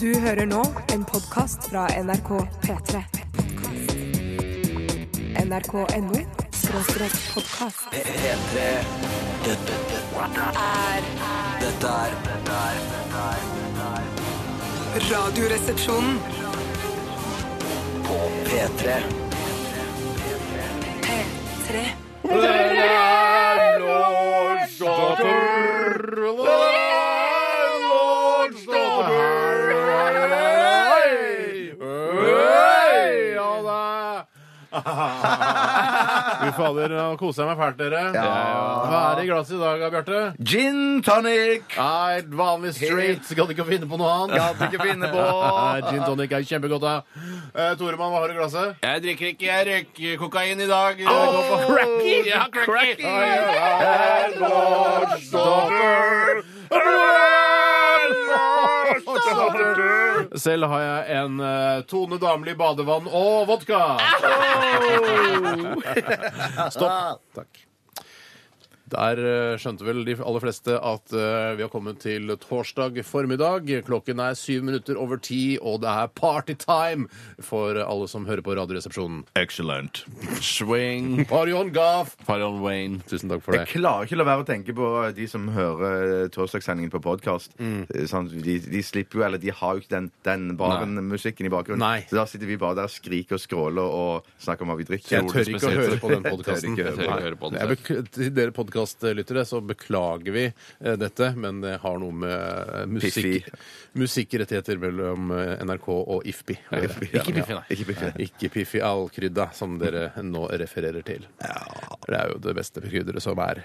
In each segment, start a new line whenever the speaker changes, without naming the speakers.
Du hører nå en podkast fra NRK P3. NRK.no skråstrek podkast.
P3 Dette, dette er Dette er Dette er
Radioresepsjonen.
På P3
P3.
Fy fader, nå koser jeg meg fælt, dere. Hva er det i glasset i dag, Bjarte?
Gin tonic!
Nei, vanlig straight. Gadd ikke å finne på noe annet.
Gadd ikke finne på.
Nei, Gin tonic er kjempegodt. da. Eh, Toremann, hva har du i glasset?
Jeg drikker ikke, jeg røyker kokain i dag.
cracky!
Ja, cracky!
Selv har jeg en eh, Tone Damli badevann og vodka. Stopp. Takk. Der eh, skjønte vel de aller fleste at eh, vi har kommet til torsdag formiddag. Klokken er syv minutter over ti, og det er partytime for alle som hører på Radioresepsjonen.
Excellent. Swing.
Party on gaff!
Farrell Wayne.
Tusen takk for
Jeg
det.
klarer ikke å la være å tenke på de som hører torsdagssendingen på podkast.
Mm.
De, de slipper jo, eller de har jo ikke den, den baren-musikken i bakgrunnen.
Nei.
Så da sitter vi bare der og skriker og skråler og snakker om hva vi drikker.
Jeg tør ikke å høre på den podkasten.
Jeg tør ikke å
høre på den.
Jeg bekl- Til dere podkastlyttere så beklager vi eh, dette, men det har noe med eh, musikk,
Piffi.
musikkrettigheter mellom eh, NRK og IFPI. å gjøre.
Ikke Piffi, nei.
Ikke bli-
Ikke Piffi Al-krydda, som dere nå refererer til. Det er jo det beste krydderet som er.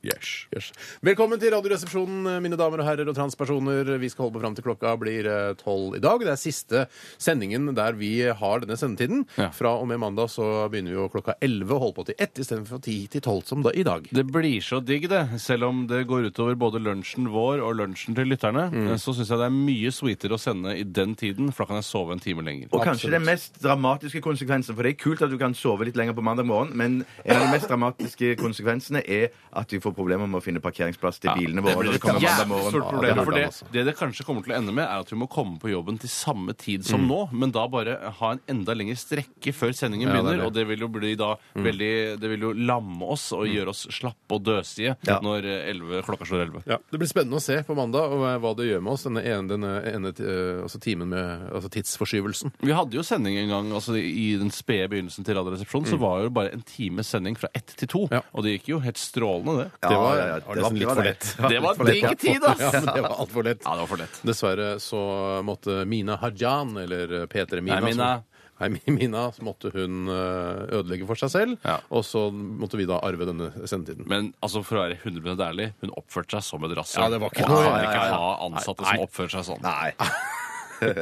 Yes. Velkommen til Radioresepsjonen, mine damer og herrer og transpersoner. Vi skal holde på fram til klokka blir eh, tolv i dag. Det er siste sendingen der vi har denne sendetiden.
Ja.
Fra og med mandag så begynner vi jo klokka elleve og holder på til ett istedenfor ti til tolv som da i dag.
Det blir så digg, det. Selv om det går utover både lunsjen vår og lunsjen til lytterne, så syns jeg det er mye sweetere å sende i den tiden, for da kan jeg sove en time lenger.
Og kanskje den mest dramatiske konsekvensen, for det er kult at du kan sove litt lenger på mandag morgen, men en av de mest dramatiske konsekvensene er at vi får problemer med å finne parkeringsplass til bilene våre. når det kommer
Jævlig
mandag morgen.
stort
Ja,
problem.
det er
for det,
drama, altså.
det det kanskje kommer til å ende med, er at vi må komme på jobben til samme tid som nå, men da bare ha en enda lengre strekke før sendingen
Ja, det er
begynner.
det.
Og det vil jo bli da veldig Det vil jo lamme oss og gjøre oss slappe og døsige når eh, 11, klokka slår 11.
Ja, Det blir spennende å se på mandag og eh, hva det gjør med oss, denne ene, denne ene eh, altså timen med altså tidsforskyvelsen.
Vi hadde jo sending en gang altså i den spede begynnelsen til Radioresepsjonen. Så var jo bare en times sending fra ett til to.
Mm. Ja.
Og det gikk jo helt strålende, det.
Det var
Ja, ja, ja,
var nesten litt for lett.
var
Det
litt
var
for lett,
digg tid, ass!
Ja, men det var altfor lett.
Ja, det var for lett.
Dessverre så måtte Mina Hajan, eller P3 Mina
Hei, Mina.
som- Hei, Mi- Mina, så måtte hun eh, ødelegge for seg selv.
Ja.
Og så måtte vi da arve denne sendetiden.
Men altså, for å være 100 ærlig, hun oppførte seg som et rasshøl.
Ja, det var ikke
Og
noe-
man kan
Nei, nei,
ikke
nei.
ha ansatte som oppfører seg sånn.
Nei.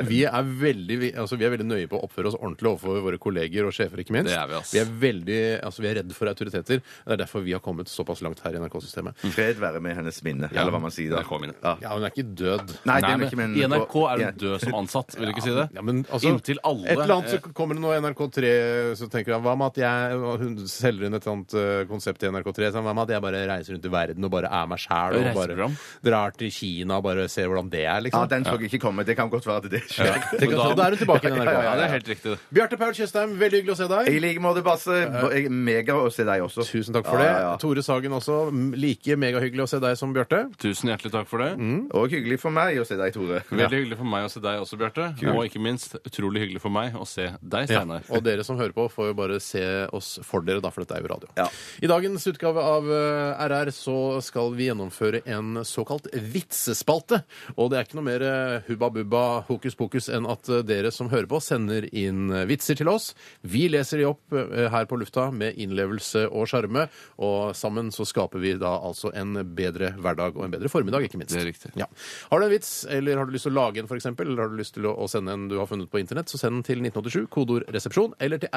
Vi er, veldig, vi- altså, vi er veldig nøye på å oppføre oss ordentlig overfor våre kolleger og sjefer, ikke minst.
Det er vi, ass.
er veldig, altså, vi er redd for autoriteter. Det er derfor vi har kommet såpass langt her i NRK-systemet.
Mm.
Fred være med hennes minne,
Ja,
eller hva man sier da.
det kom inn.
Ja, hun er ikke død.
Nei, det
Nei,
er
men,
ikke, men
I NRK er
Ja.
du død som ansatt, vil du ikke si det?
Ja, men altså,
Inntil alle eh,
Et eller annet så kommer det nå i NRK3 Så tenker jeg, hva med at jeg Hun selger inn et eller annet eh, konsept i NRK3 sånn, Hva med at jeg bare reiser rundt i verden og bare er meg sjæl Og bare
Reiseprogram.
drar til Kina og bare ser hvordan det er
Ja,
liksom
den så jeg ikke komme. Det kan godt være at det skjer.
Tenk at,
Men da-
da er hun tilbake i NRK
Ja, det er helt riktig.
Bjarte Paul Tjøstheim, veldig hyggelig å se
I
deg
like måte, Basse. Jeg er Mega å se deg også.
Tusen takk
Ja,
for det
ja, ja.
Tore Sagen også, m- like megahyggelig å se deg som Bjarte
Tusen hjertelig takk for det.
Mm.
Og hyggelig for meg å se deg, Tore.
Veldig hyggelig for meg å se deg også, Bjarte. Og ikke minst utrolig hyggelig for meg å se deg, Steinar.
Og dere som hører på, får jo bare se oss for dere, da, for dette er jo radio.
Ja.
I dagens utgave av eh, RR så skal vi gjennomføre en såkalt vitsespalte. Og det er ikke noe mer eh, hubba bubba hokus pokus enn at eh, dere som hører på, sender inn eh, vitser til oss. Vi leser de opp eh, her på lufta med innlevelse og sjarme, og sammen så skaper vi da altså en bedre hverdag og en bedre formiddag, ikke minst.
Det er riktig.
Ja. Har du en vits, eller har du lyst til å lage en, for eksempel, eller har du lyst til å å sende en du har funnet på internett, så send den til 1987, kodeord 'resepsjon', eller til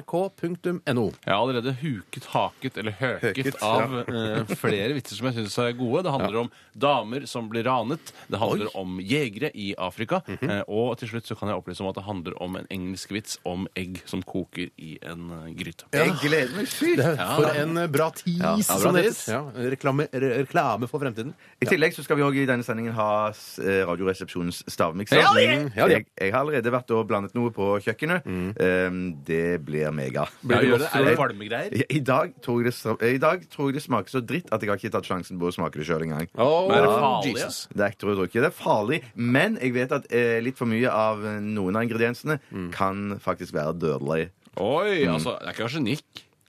rrkrøllalfa.nrk.no.
Jeg har allerede huket, haket eller høket,
Høket,
av eh, flere vitser som jeg syns er gode. Det handler om damer som blir ranet. Det handler om jegere i Afrika.
Mhm.
Eh, Og til slutt så kan jeg opplyse om at det handler om en engelsk vits om egg som koker i en eh, gryte.
Jeg gleder meg sykt!
For en eh, bra tis,
Ja, ja, bra
som det
tis.
heter. Ja, reklame, re- reklame for fremtiden.
I tillegg så skal vi også i denne sendingen ha s- eh, Radioresepsjonens stavmikser.
Ja, det!
Mm,
Ja, det.
Jeg, jeg har allerede vært og blandet noe på kjøkkenet. Um, det blir mega. Eh,
Blir det
Ja,
godt?
jøss, er det valmegreier?
I dag, tror jeg det, sa- eh, I dag tror jeg det smaker så dritt at jeg har ikke tatt sjansen på å smake det sjøl engang.
Åh,
Men er det farlig,
Jesus.
Det er ekte rød drikke. Det er farlig, men jeg vet at eh, litt for mye av eh, noen av ingrediensene kan faktisk være dødelig.
Oi,
Mm.
altså, det er ikke arsenikk.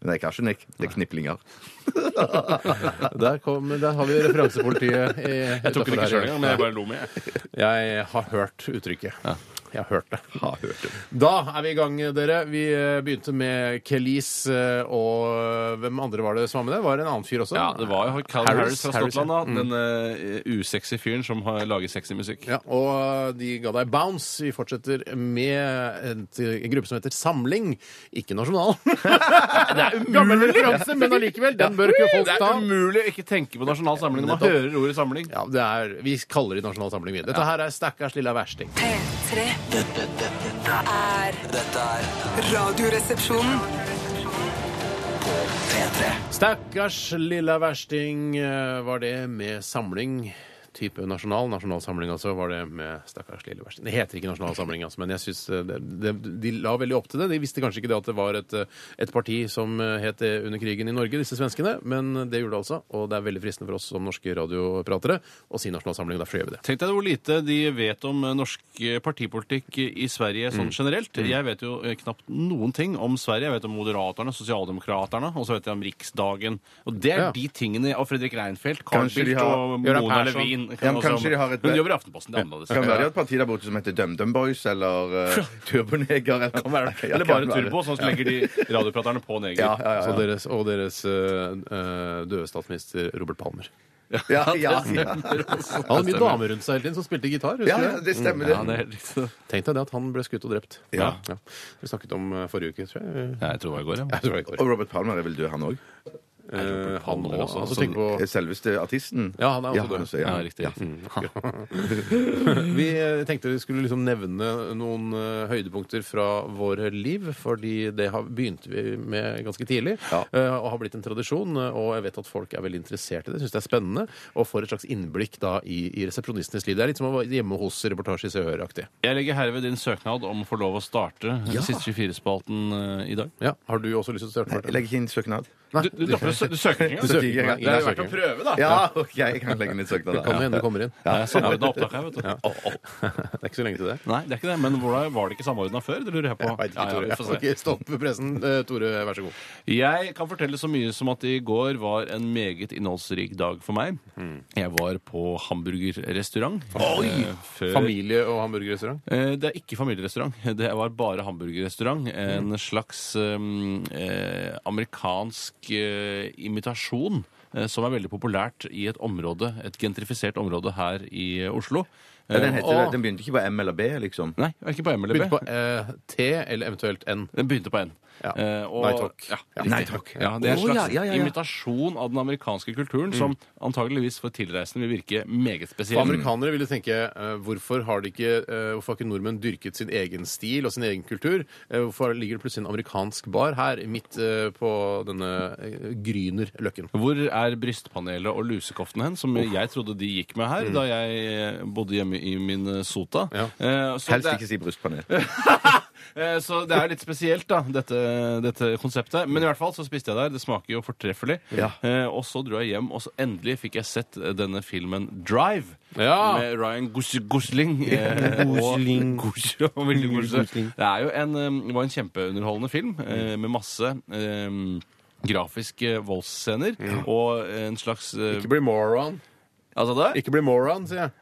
Det er ikke arsenikk, det er kniplinger.
Der, kom, der har vi referansepolitiet. I,
Jeg tok den ikke sjøl engang, men jeg bare lo med. jeg.
Jeg har hørt uttrykket. Jeg har hørt det.
Har hørt det.
Da er vi i gang, dere. Vi eh, begynte med Kelis eh, og Hvem andre var det som var med det? Var det en annen fyr også?
Ja, det var jo Carl Harris, fra
Harris, Mm.
Skottland, da. Den eh, usexy fyren som har lager sexy musikk.
Ja, og eh, de ga deg bounce. Vi fortsetter med en, en gruppe som heter Samling. Ikke nasjonal. det er umulig! Gammel referanse, men allikevel. Den bør ikke folk
Det
ta.
er umulig å ikke tenke på nasjonal samling når man
Nettopp.
hører ordet samling.
Ja, det er, Vi kaller det Nasjonal Samling. vi. Dette her er stakkars lilla versting.
P3
Dette, dette, dette
er
dette er
Radioresepsjonen.
P3.
Stakkars lilla versting eh, var det med samling. Type nasjonal. Nasjonal samling, altså, var det med stakkars lille versting. Det heter ikke Nasjonal samling, altså, men jeg synes eh, det, det, de la veldig opp til det. De visste kanskje ikke det at det var et, eh, et parti som eh, het det under krigen i Norge, disse svenskene, men det gjorde det altså. Og det er veldig fristende for oss som norske radiopratere å si Nasjonal samling, og derfor gjør vi det.
Tenk deg hvor lite de vet om eh, norsk eh, partipolitikk i Sverige sånn
Mm.
generelt. Jeg vet jo eh, knapt noen ting om Sverige. Jeg vet om Moderaterna, Sosialdemokraterne, og så vet jeg om Riksdagen. Og det er
Ja.
de tingene av Fredrik Reinfeldt, Carl
Kanskje de
Bildt
har-
og
Göran
Mona
Persson.
Levin.
Ja, men kanskje de har et-
Hun jobber i Aftenposten. Det er annerledes.
Kan være de har et parti der borte som heter DumDum Boys eller uh, Turboneger. Eller, Ja,
Eller
kan
bare
være.
Turbo, sånn så legger de radiopraterne på neger.
Ja, ja, ja.
Så deres, og deres eh, eh, døde statsminister Robert Palmer.
Ja, ja, ja.
Han hadde mye damer rundt seg hele tiden som spilte gitar. husker
ja,
du
ja, det stemmer,
Ja,
det.
det er helt riktig.
Tenk deg det at han ble skutt og drept.
Ja.
Vi snakket om eh, forrige uke, tror jeg.
Ja, jeg tror det var i går, ja.
Jeg tror det var i går.
Og Robert Palmer er vel død, han òg?
Eh, han
Palmer
òg.
også,
Altså,
sånn-
tenk på
Selveste artisten?
Ja, han er også
han
død.
også, ja. mm.
Ja, riktig. riktig.
Vi eh, tenkte vi skulle liksom nevne noen eh, høydepunkter fra våre liv, fordi det har, begynte vi med ganske tidlig
Ja.
eh, og har blitt en tradisjon. eh, Og jeg vet at folk er veldig interessert i det, syns det er spennende, og får et slags innblikk da i, i resepsjonistenes liv. Det er litt som å være hjemme hos reportasje i Se og Hør-aktig.
Jeg legger herved din søknad om å få lov å starte siste 24-spalten eh, i dag.
Ja. Har du også lyst til å starte?
Jeg
Martin?
legger ikke inn søknad.
Du, du, dropper å sø- du søker ikke
Du
engang?
søker ikke engang.
Det er jo verdt å prøve, da.
Ja, OK, jeg kan legge inn søknad.
Kan jo hende du kommer inn.
Det er samordna opptak her, vet du. Å, å.
Det er ikke så lenge til det.
Nei, det er ikke det. Men hvordan var det ikke samordna før? Det lurer jeg på.
Jeg vet ikke,
Ja, ja,
Tore.
vi får se.
Ok, stopp pressen. Eh, Tore, vær så god.
Jeg kan fortelle så mye som at i går var en meget innholdsrik dag for meg.
Hmm.
Jeg var på hamburgerrestaurant. eh, Før
Familie- og hamburgerrestaurant?
Eh, Det er ikke familierestaurant. Det var bare hamburgerrestaurant. En
Hmm.
slags um, eh, amerikansk eh, imitasjon eh, som er veldig populært i et område, et gentrifisert område her i eh, Oslo. Eh,
Den, heter,
Å.
den begynte ikke på M eller B, liksom.
Nei, det er ikke på MLB.
Begynte på eh, T, eller eventuelt N.
Den begynte på N.
Ja.
Eh, og-
Nei takk.
Ja,
Ja.
riktig.
Nei takk.
Ja, det er en
Å,
slags
ja, ja, Mm. ja, ja.
imitasjon av den amerikanske kulturen som antageligvis for tilreisende vil virke meget spesiell.
Og Amerikanere ville tenke eh, hvorfor har de ikke eh, hvorfor har ikke nordmenn dyrket sin egen stil og sin egen kultur? Eh, hvorfor ligger det plutselig en amerikansk bar her midt eh, på denne uh, Grünerløkken?
Hvor er brystpanelet og lusekoften hen, som jeg trodde de gikk med
Mm.
her da jeg eh, bodde hjemme i min eh, sota?
Ja.
Eh, så,
Helst
det,
ikke si brystpanel.
eh, så det er litt spesielt, da, dette, dette konseptet. Men i hvert fall så spiste jeg der. Det smaker jo fortreffelig.
Ja.
Eh, og så dro jeg hjem, og så endelig fikk jeg sett eh, denne filmen Drive.
Ja.
Med Ryan Gos Gosling. eh, og-
Gosling.
Gos- og veldig Gosling. Det er jo en, eh, det var en kjempeunderholdende film
Mm.
eh, med masse eh, grafiske voldsscener og en slags eh,
Ikke bli moron.
Altså det?
Ikke bli moron, sier jeg.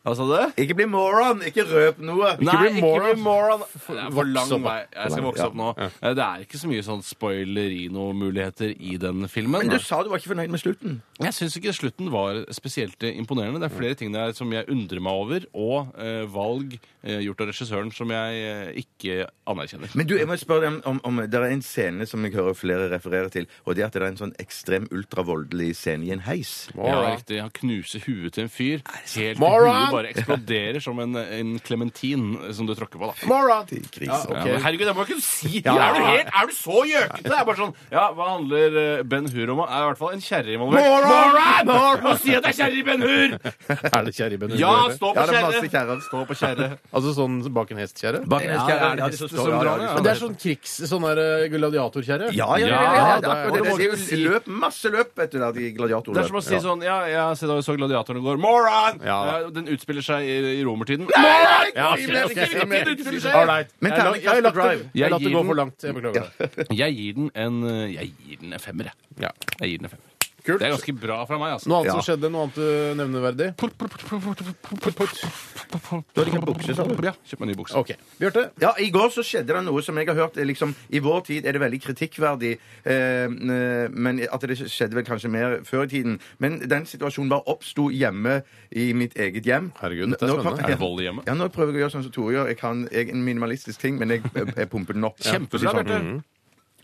Altså det?
Ikke bli moron! Ikke røp noe!
bli moron.
moron. Det er for
Vokse
lang
opp, da.
vei. Jeg skal vokse opp nå. Eh, Det er ikke så mye sånn spoilerino-muligheter i den filmen.
Men du sa du var ikke fornøyd med slutten.
Jeg syns ikke slutten var spesielt imponerende. Det er flere ting der som jeg undrer meg over, og eh, valg eh, gjort av regissøren som jeg eh, ikke anerkjenner.
Men du, jeg må spørre deg om, om, om Det er en scene som jeg hører flere referere til, og det er at det er en sånn ekstrem ultravoldelig scene i en heis.
Ja, riktig. Han knuser huet til en fyr. Helt til
Moron!
huet du bare eksploderer som en- en klementin som du tråkker på. da.
Moron!
Gris.
Ja,
Ok.
men herregud, det må jeg ikke si!
Ja, ja,
Er, du
ja.
helt, er du så gjøkete? Det er bare sånn Ja, hva handler eh, Ben Hur om? da? Er i hvert fall en kjerre involvert.
Moron!
Moron! Må si at det er kjerre i Ben Hur!
Er det kjerre i Ben Hur?
Ja, stå
Ja,
på
det er masse
kjerre.
kjerrer.
Stå på kjerre.
Altså sånn bak en hest-kjerre?
Bak en
Ja,
hestkjerre
det er
er
de
det
som
som står
drar,
ja, ja,
ja.
Men det er sånn krigs... Sånn der gladiatorkjerre?
Ja, ja, ja, ja, ja, det er akkurat det.
Ja,
Det er jo løp, masse løp, vet du, der de
Det er som å
gladiatorløp.
si sånn Ja, jeg så, så gladiatoren i går. Moron!
Ja.
Eh, Den utspiller seg i, i romertiden.
Ja,
ok, ok, ok, det utspiller seg.
All right.
Men
Jeg la-
terningkast på
jeg la-
drive.
Jeg lot det
Jeg gir
gå
den-
for langt. Jeg beklager.
Jeg gir den en eh, Jeg gir den en femmer, jeg.
Ja.
jeg gir den en femmer.
Kult.
Det er ganske bra fra meg, altså.
Noe annet som
Ja.
skjedde? Noe annet du nevneverdig?
Du har ikke bukse, sa du?
Ja, kjøp meg en ny bukse.
OK. Bjarte?
Ja, I går så skjedde det noe som jeg har hørt eh, liksom, I vår tid er det veldig kritikkverdig, eh, n- men at det skjedde vel kanskje mer før i tiden. Men den situasjonen bare oppsto hjemme i mitt eget hjem.
Herregud, dette er
Nå- nå-
spennende.
Er det vold i hjemmet?
Ja, nå prøver jeg å gjøre sånn som Tore gjør. Jeg kan jeg, en minimalistisk ting, men jeg, jeg, jeg pumper den opp.
Kjempebra,
For
Liksom.
å si
Bjarte.
sånn.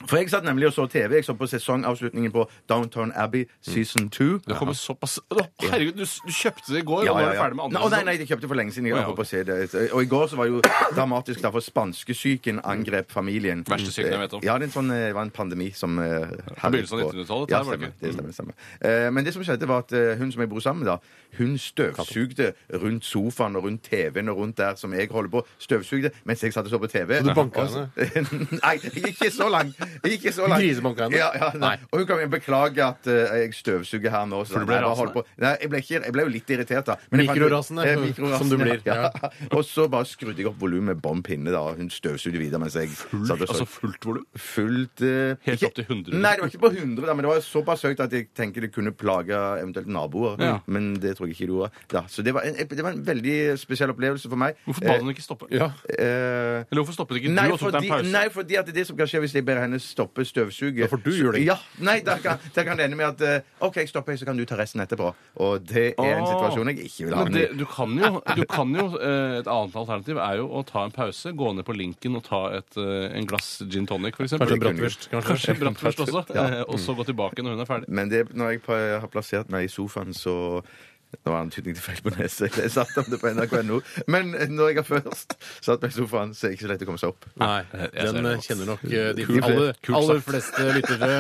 For jeg satt nemlig og så TV. Jeg så på sesongavslutningen på Downtown Abbey season 2.
Det kommer såpass Å, Herregud, du, s- du kjøpte det i går, og nå er du ferdig med andre.
Nei, å, nei, nei, jeg kjøpte for lenge siden. Jeg
Å, ja,
var på å se det. Og i går så var det jo dramatisk da, for spanskesyken angrep familien.
Verste syken jeg vet om.
Ja, det, er en sånn, eh, det var en pandemi som eh, herjet
begynnelsen av
på-
1900-tallet,
Ja,
det var det
stemmer.
ikke. Mm.
Det stemmer, det stemmer. Eh, Men det som skjedde, var at eh, hun som jeg bor sammen med, da, hun støvsugde rundt sofaen og rundt TV-en og rundt der som jeg holder på. Støvsugde mens jeg satt og så på TV.
du banka
Og så- Nei, jeg gikk ikke så langt. Jeg gikk ikke så langt.
Grisebanka henne?
Ja, ja, nei.
Nei.
Og hun kan jo beklage at eh, jeg støvsuger her nå.
For du ble
Nei, jeg bare holdt
rasende.
på. Nei, jeg ble, ikke, jeg ble jo litt irritert, da. Men jeg fant ut-
Mikrorasende,
Eh, mikrorasende,
som du blir,
Ja. Og så bare skrudde jeg opp volumet med bånn pinne, da. og Hun støvsugde videre mens jeg satt og så.
Altså fullt volum?
Fullt eh,
Helt
ikke-
opp til 100?
Nei, det var ikke på 100, da, men det var såpass høyt at jeg tenker det kunne plage eventuelt naboer.
Ja.
Men det tror jeg ikke det gjorde. Da. Så det var, en, det var en veldig spesiell opplevelse for meg.
Hvorfor ba du henne ikke stoppe?
Ja.
Eh, eh,
Eller hvorfor stoppet ikke
Nei,
du og tok deg
fordi,
en pause?
nei, fordi at det som kan skje hvis jeg ber henne stoppe støvsuget
Ja, for du gjør det.
Ja, nei, da kan, da kan det ende med at eh, OK, jeg stopper, så kan du ta resten etterpå. Og det er
Ah.
en
Åh.
situasjon jeg ikke vil ha.
Men det, du kan jo, du kan jo eh, Et annet alternativ er jo å ta en pause, gå ned på Linken og ta et, eh, en glass gin tonic, f.eks.
Kanskje en
kunne
bratwurst?
Kanskje
Kanskje. Mm.
en bratwurst også. eh, Og så gå tilbake når hun er ferdig.
Men det, når jeg pa- har plassert meg i sofaen, så det var en tydning til feil på nese. Jeg satt om det på nrk.no. Men eh, når jeg har først satt meg i sofaen, så er det ikke så lett å komme seg opp.
Nei,
jeg ser
den
det.
eh, kjenner nok eh, de
Kult.
aller,
Kult
aller
sagt.
fleste lyttere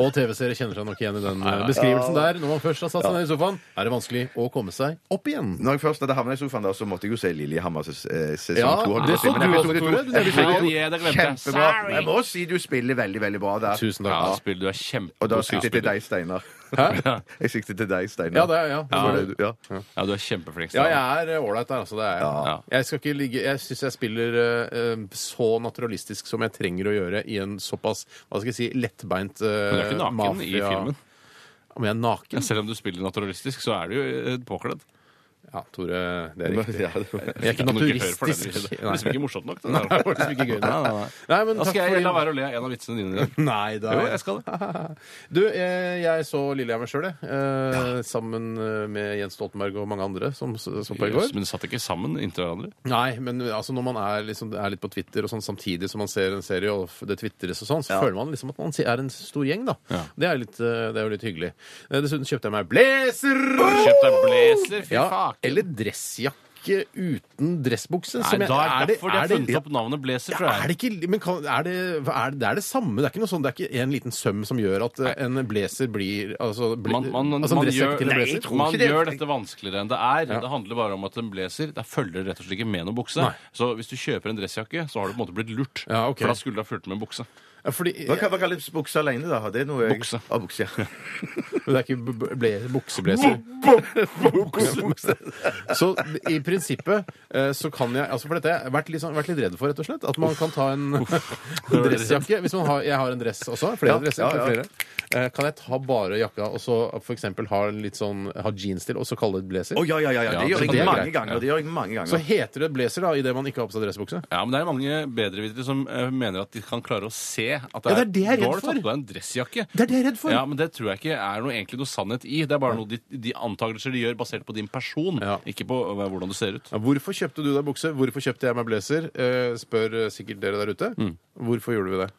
og TV-seere kjenner seg nok igjen i den eh, beskrivelsen der. Når man først har satt seg ned i sofaen, er det vanskelig å komme seg opp igjen.
Når jeg først hadde havna i sofaen, da, så måtte jeg jo se Lillehammer eh, sesong
Ja,
to.
det så du også, Tore. Du nevnte
Herregud,
ikke.
jeg- det glemte jeg.
Kjempebra. Jeg må si du spiller veldig, veldig bra der.
Tusen
Ja,
takk.
spill,
Og
du er
da
kjempegod
sikter jeg til deg, Steinar.
Hæ?
Jeg sikter til deg, Steinar.
Ja, det er, ja.
Det var det du- ja.
Ja, du er kjempeflink.
Ja,
Steinar.
jeg er ålreit der, altså. Det er jeg.
Ja.
Jeg skal ikke ligge Jeg syns jeg spiller eh, eh, så naturalistisk som jeg trenger å gjøre i en såpass hva skal jeg si, lettbeint eh,
Men du er ikke naken i
mafia-
filmen.
Om jeg er naken?
Selv om du spiller naturalistisk, så er du jo eh, påkledd.
Ja, Tore, det er
Men-
riktig.
ja, det var-
Jeg er ikke
Det noe gøy for deg.
naturistisk.
Det er liksom ikke morsomt nok. det
Nei, det
der.
var liksom ikke gøy.
Nei, nei, nei.
Nei, men
Da
takk
skal
for
jeg
din-
la være å le en av vitsene dine. i dag.
Nei da.
Jo, jeg skal det.
Du, jeg, jeg så Lillehammer sjøl, jeg. Eh, Sammen eh, med Jens Stoltenberg og mange andre som s- så på i går.
Jøss, Men det satt ikke sammen inntil hverandre.
Nei, men altså, når man er, liksom, er litt på Twitter og sånn, samtidig som man ser en serie, og f- det twitteres og sånn, så føler man liksom at man er en stor gjeng, da.
Ja.
Det, er litt, eh, det er jo litt hyggelig. Eh, Dessuten kjøpte jeg meg blazer!
Kjøpt deg blazer, fy
Ja,
faken.
eller dressjakke uten dressbukse.
Nei,
som jeg-
da er det
det-
derfor de har
er det-
funnet opp navnet blazer, tror
Ja, er det
jeg.
ikke Men kan, er det, er det, det er det samme? Det er ikke noe sånn, det er ikke en liten søm som gjør at eh, en blazer blir altså, bli,
Man, man, man,
altså, en dressjakke
gjør,
til en
Nei,
blazer?
man
ikke det.
gjør dette vanskeligere enn det er. Det handler bare om at en blazer der følger det rett og slett ikke med noen bukse.
Nei.
Så hvis du kjøper en dressjakke, så har du på en måte blitt lurt.
Ja, ok.
For da skulle du ha fulgt med en bukse.
Ja, fordi,
Hva hva kalles bukse alene, da? Har Det noe jeg...
Bukse.
Ah, bukse, ja.
Men det er ikke b- ble- bukseblazer. Bukseblazer. Så i prinsippet eh, så kan jeg altså For dette har jeg vært litt, sånn, vært litt redd for, rett og slett. At man kan ta en en dressjakke. Hvis man har, jeg har en dress også. Flere
Ja,
dresser.
ja, ja.
Flere. Eh, Kan jeg ta bare jakka og så f.eks. ha en litt sånn ha jeans til, og så kalle det et blazer?
Å, ja, ja, ja, ja. Det
Ja,
gjør
det
jeg
er
mange
greit.
ganger. Det gjør jeg mange ganger.
Så heter det blazer da, idet man ikke har på seg dressbukse?
Ja, men det er mange bedrevitere som eh, mener at de kan klare å se at det
Ja, det er
er,
det jeg er
Nå
redd
har du
for.
tatt på deg en dressjakke.
Det er det jeg er redd for.
Ja, men det tror jeg ikke er noe, egentlig noe sannhet i. Det er bare noe de, de antakelser de gjør basert på din person,
Ja.
ikke på eh, hvordan du ser ut.
Ja, hvorfor kjøpte du deg bukse? Hvorfor kjøpte jeg meg blazer? Eh, spør eh, sikkert dere der ute. Hvorfor gjorde vi det?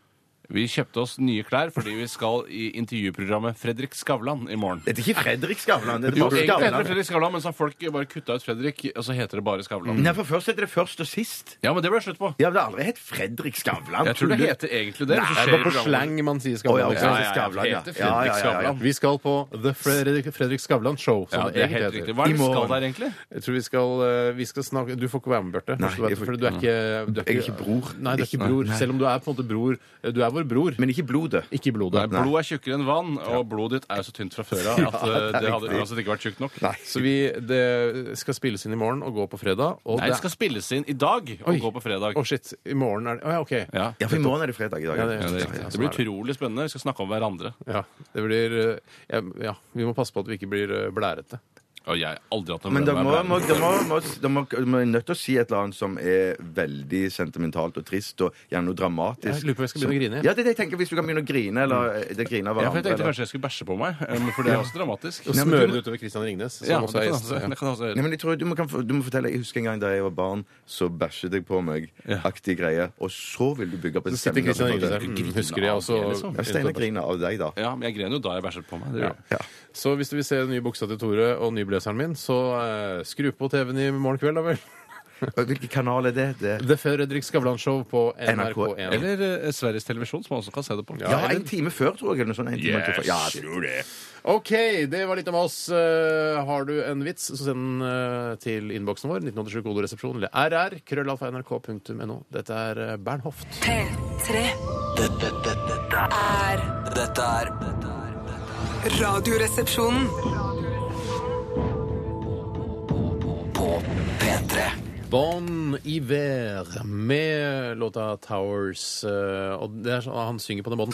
Vi kjøpte oss nye klær fordi vi skal i intervjuprogrammet Fredrik Skavlan i morgen.
Dette er ikke Fredrik Skavlan. Det er
Jo,
bare
egentlig heter det
Skavlan.
Fredrik Skavlan, men så har folk bare kutta ut Fredrik, og så heter det bare Skavlan.
Mm.
Nei, for først heter det først og sist.
Ja, men det ble slutt på.
Ja, men det har aldri hett Fredrik Skavlan.
Jeg tror det
Tuller.
heter egentlig det. men
Det er
så skjer
bare på
programmet-
slang man sier
Å,
Skavlan.
ja, ok,
ikke
Ja,
sant?
ja, ja,
Skavlan, ja. Ja,
heter
ja,
Fredrik
ja, ja.
Skavlan.
Vi skal på The Fredrik, Fredrik Skavlan Show, som
Ja,
det,
det er helt
egentlig
riktig.
heter.
Hva er
I
det vi
morgen.
skal der, egentlig?
Jeg tror vi skal, eh, vi skal snakke Du får ikke være med, Bjarte.
Nei,
Først
jeg
og fremst,
får
for du er ikke, du er
Jeg er ikke bror.
Nei, du er ikke bror. Selv om du er på en måte bror. Du er vår bror,
Men ikke blodet.
ikke i blodet.
Blod er tjukkere enn vann, og blodet ditt er jo så tynt fra før av at eh, det hadde uansett ikke vært tjukt nok.
Nei.
Så vi det skal spilles inn i morgen og gå på fredag. Og
Nei, det skal spilles inn i dag og
Oi.
gå på fredag.
Å, shit. I morgen er det Å ja, OK.
Ja.
Ja, for i morgen er det fredag i dag.
Ja, det er
Ja, det,
Ja,
er
ja,
riktig.
sånn
det blir
er det.
utrolig spennende. Vi skal snakke om hverandre.
Ja, det blir eh, ja, ja, vi må passe på at vi ikke blir eh, blærete.
Og jeg har aldri hatt noe
Men da
problem
må, må,
med blæren.
da må, må, da må, må jeg nødt til å si et eller annet som er veldig sentimentalt og trist, og gjerne noe dramatisk.
Jeg lurer på om jeg skal begynne å grine, Mm. jeg.
Ja, det er det jeg tenker. Hvis du kan begynne å grine, eller eh, det griner av
Ja, for jeg
hverandre.
tenkte
eller-
kanskje jeg skulle bæsje på meg, eh, men for det er også dramatisk.
Og
Nei, men du
smøre
må-
det utover Christian Ringnes. som
Ja, det
også er
kan
gjest.
også, det kan også
Nei,
gjøre.
men jeg tror du må, kan, du må fortelle, jeg husker en gang da jeg var barn, så bæsjet jeg på meg
Ja.
aktig greie, og så vil du bygge opp en
Så sitter
stemning.
Christian Ringnes der.
Mm,
Mm, Husker jeg også.
liksom.
Ja,
sånn.
Steinar griner av deg, da.
Ja, men jeg gren jo da jeg bæsjet på meg. Det gjorde
Ja.
jeg.
Så hvis du vil se den nye buksa til Tore og nyblazeren min, så eh, skru på TV-en i morgen kveld, da vel.
Og Hvilken kanal er det? det?
The Fredrik Skavlan Show på
NRK1.
NRK1.
Eller eh, Sveriges Televisjon, som man også kan se det på.
Ja, en time før, tror jeg. Eller noe sånt. En time før. Ja, det-
tror det.
OK, det var litt om oss. Eh, har du en vits, så send den eh, til innboksen vår. 1987 kodoresepsjon eller rr. krøllalfa.nrk.no. Dette er eh, Bernhoft.
P3
Dette, dette, dette er
er
Dette er dette er- dette er
Radioresepsjonen.
På P3
Bon Iver med låta 'Towers'. eh, og det er sånn, Han synger på den båten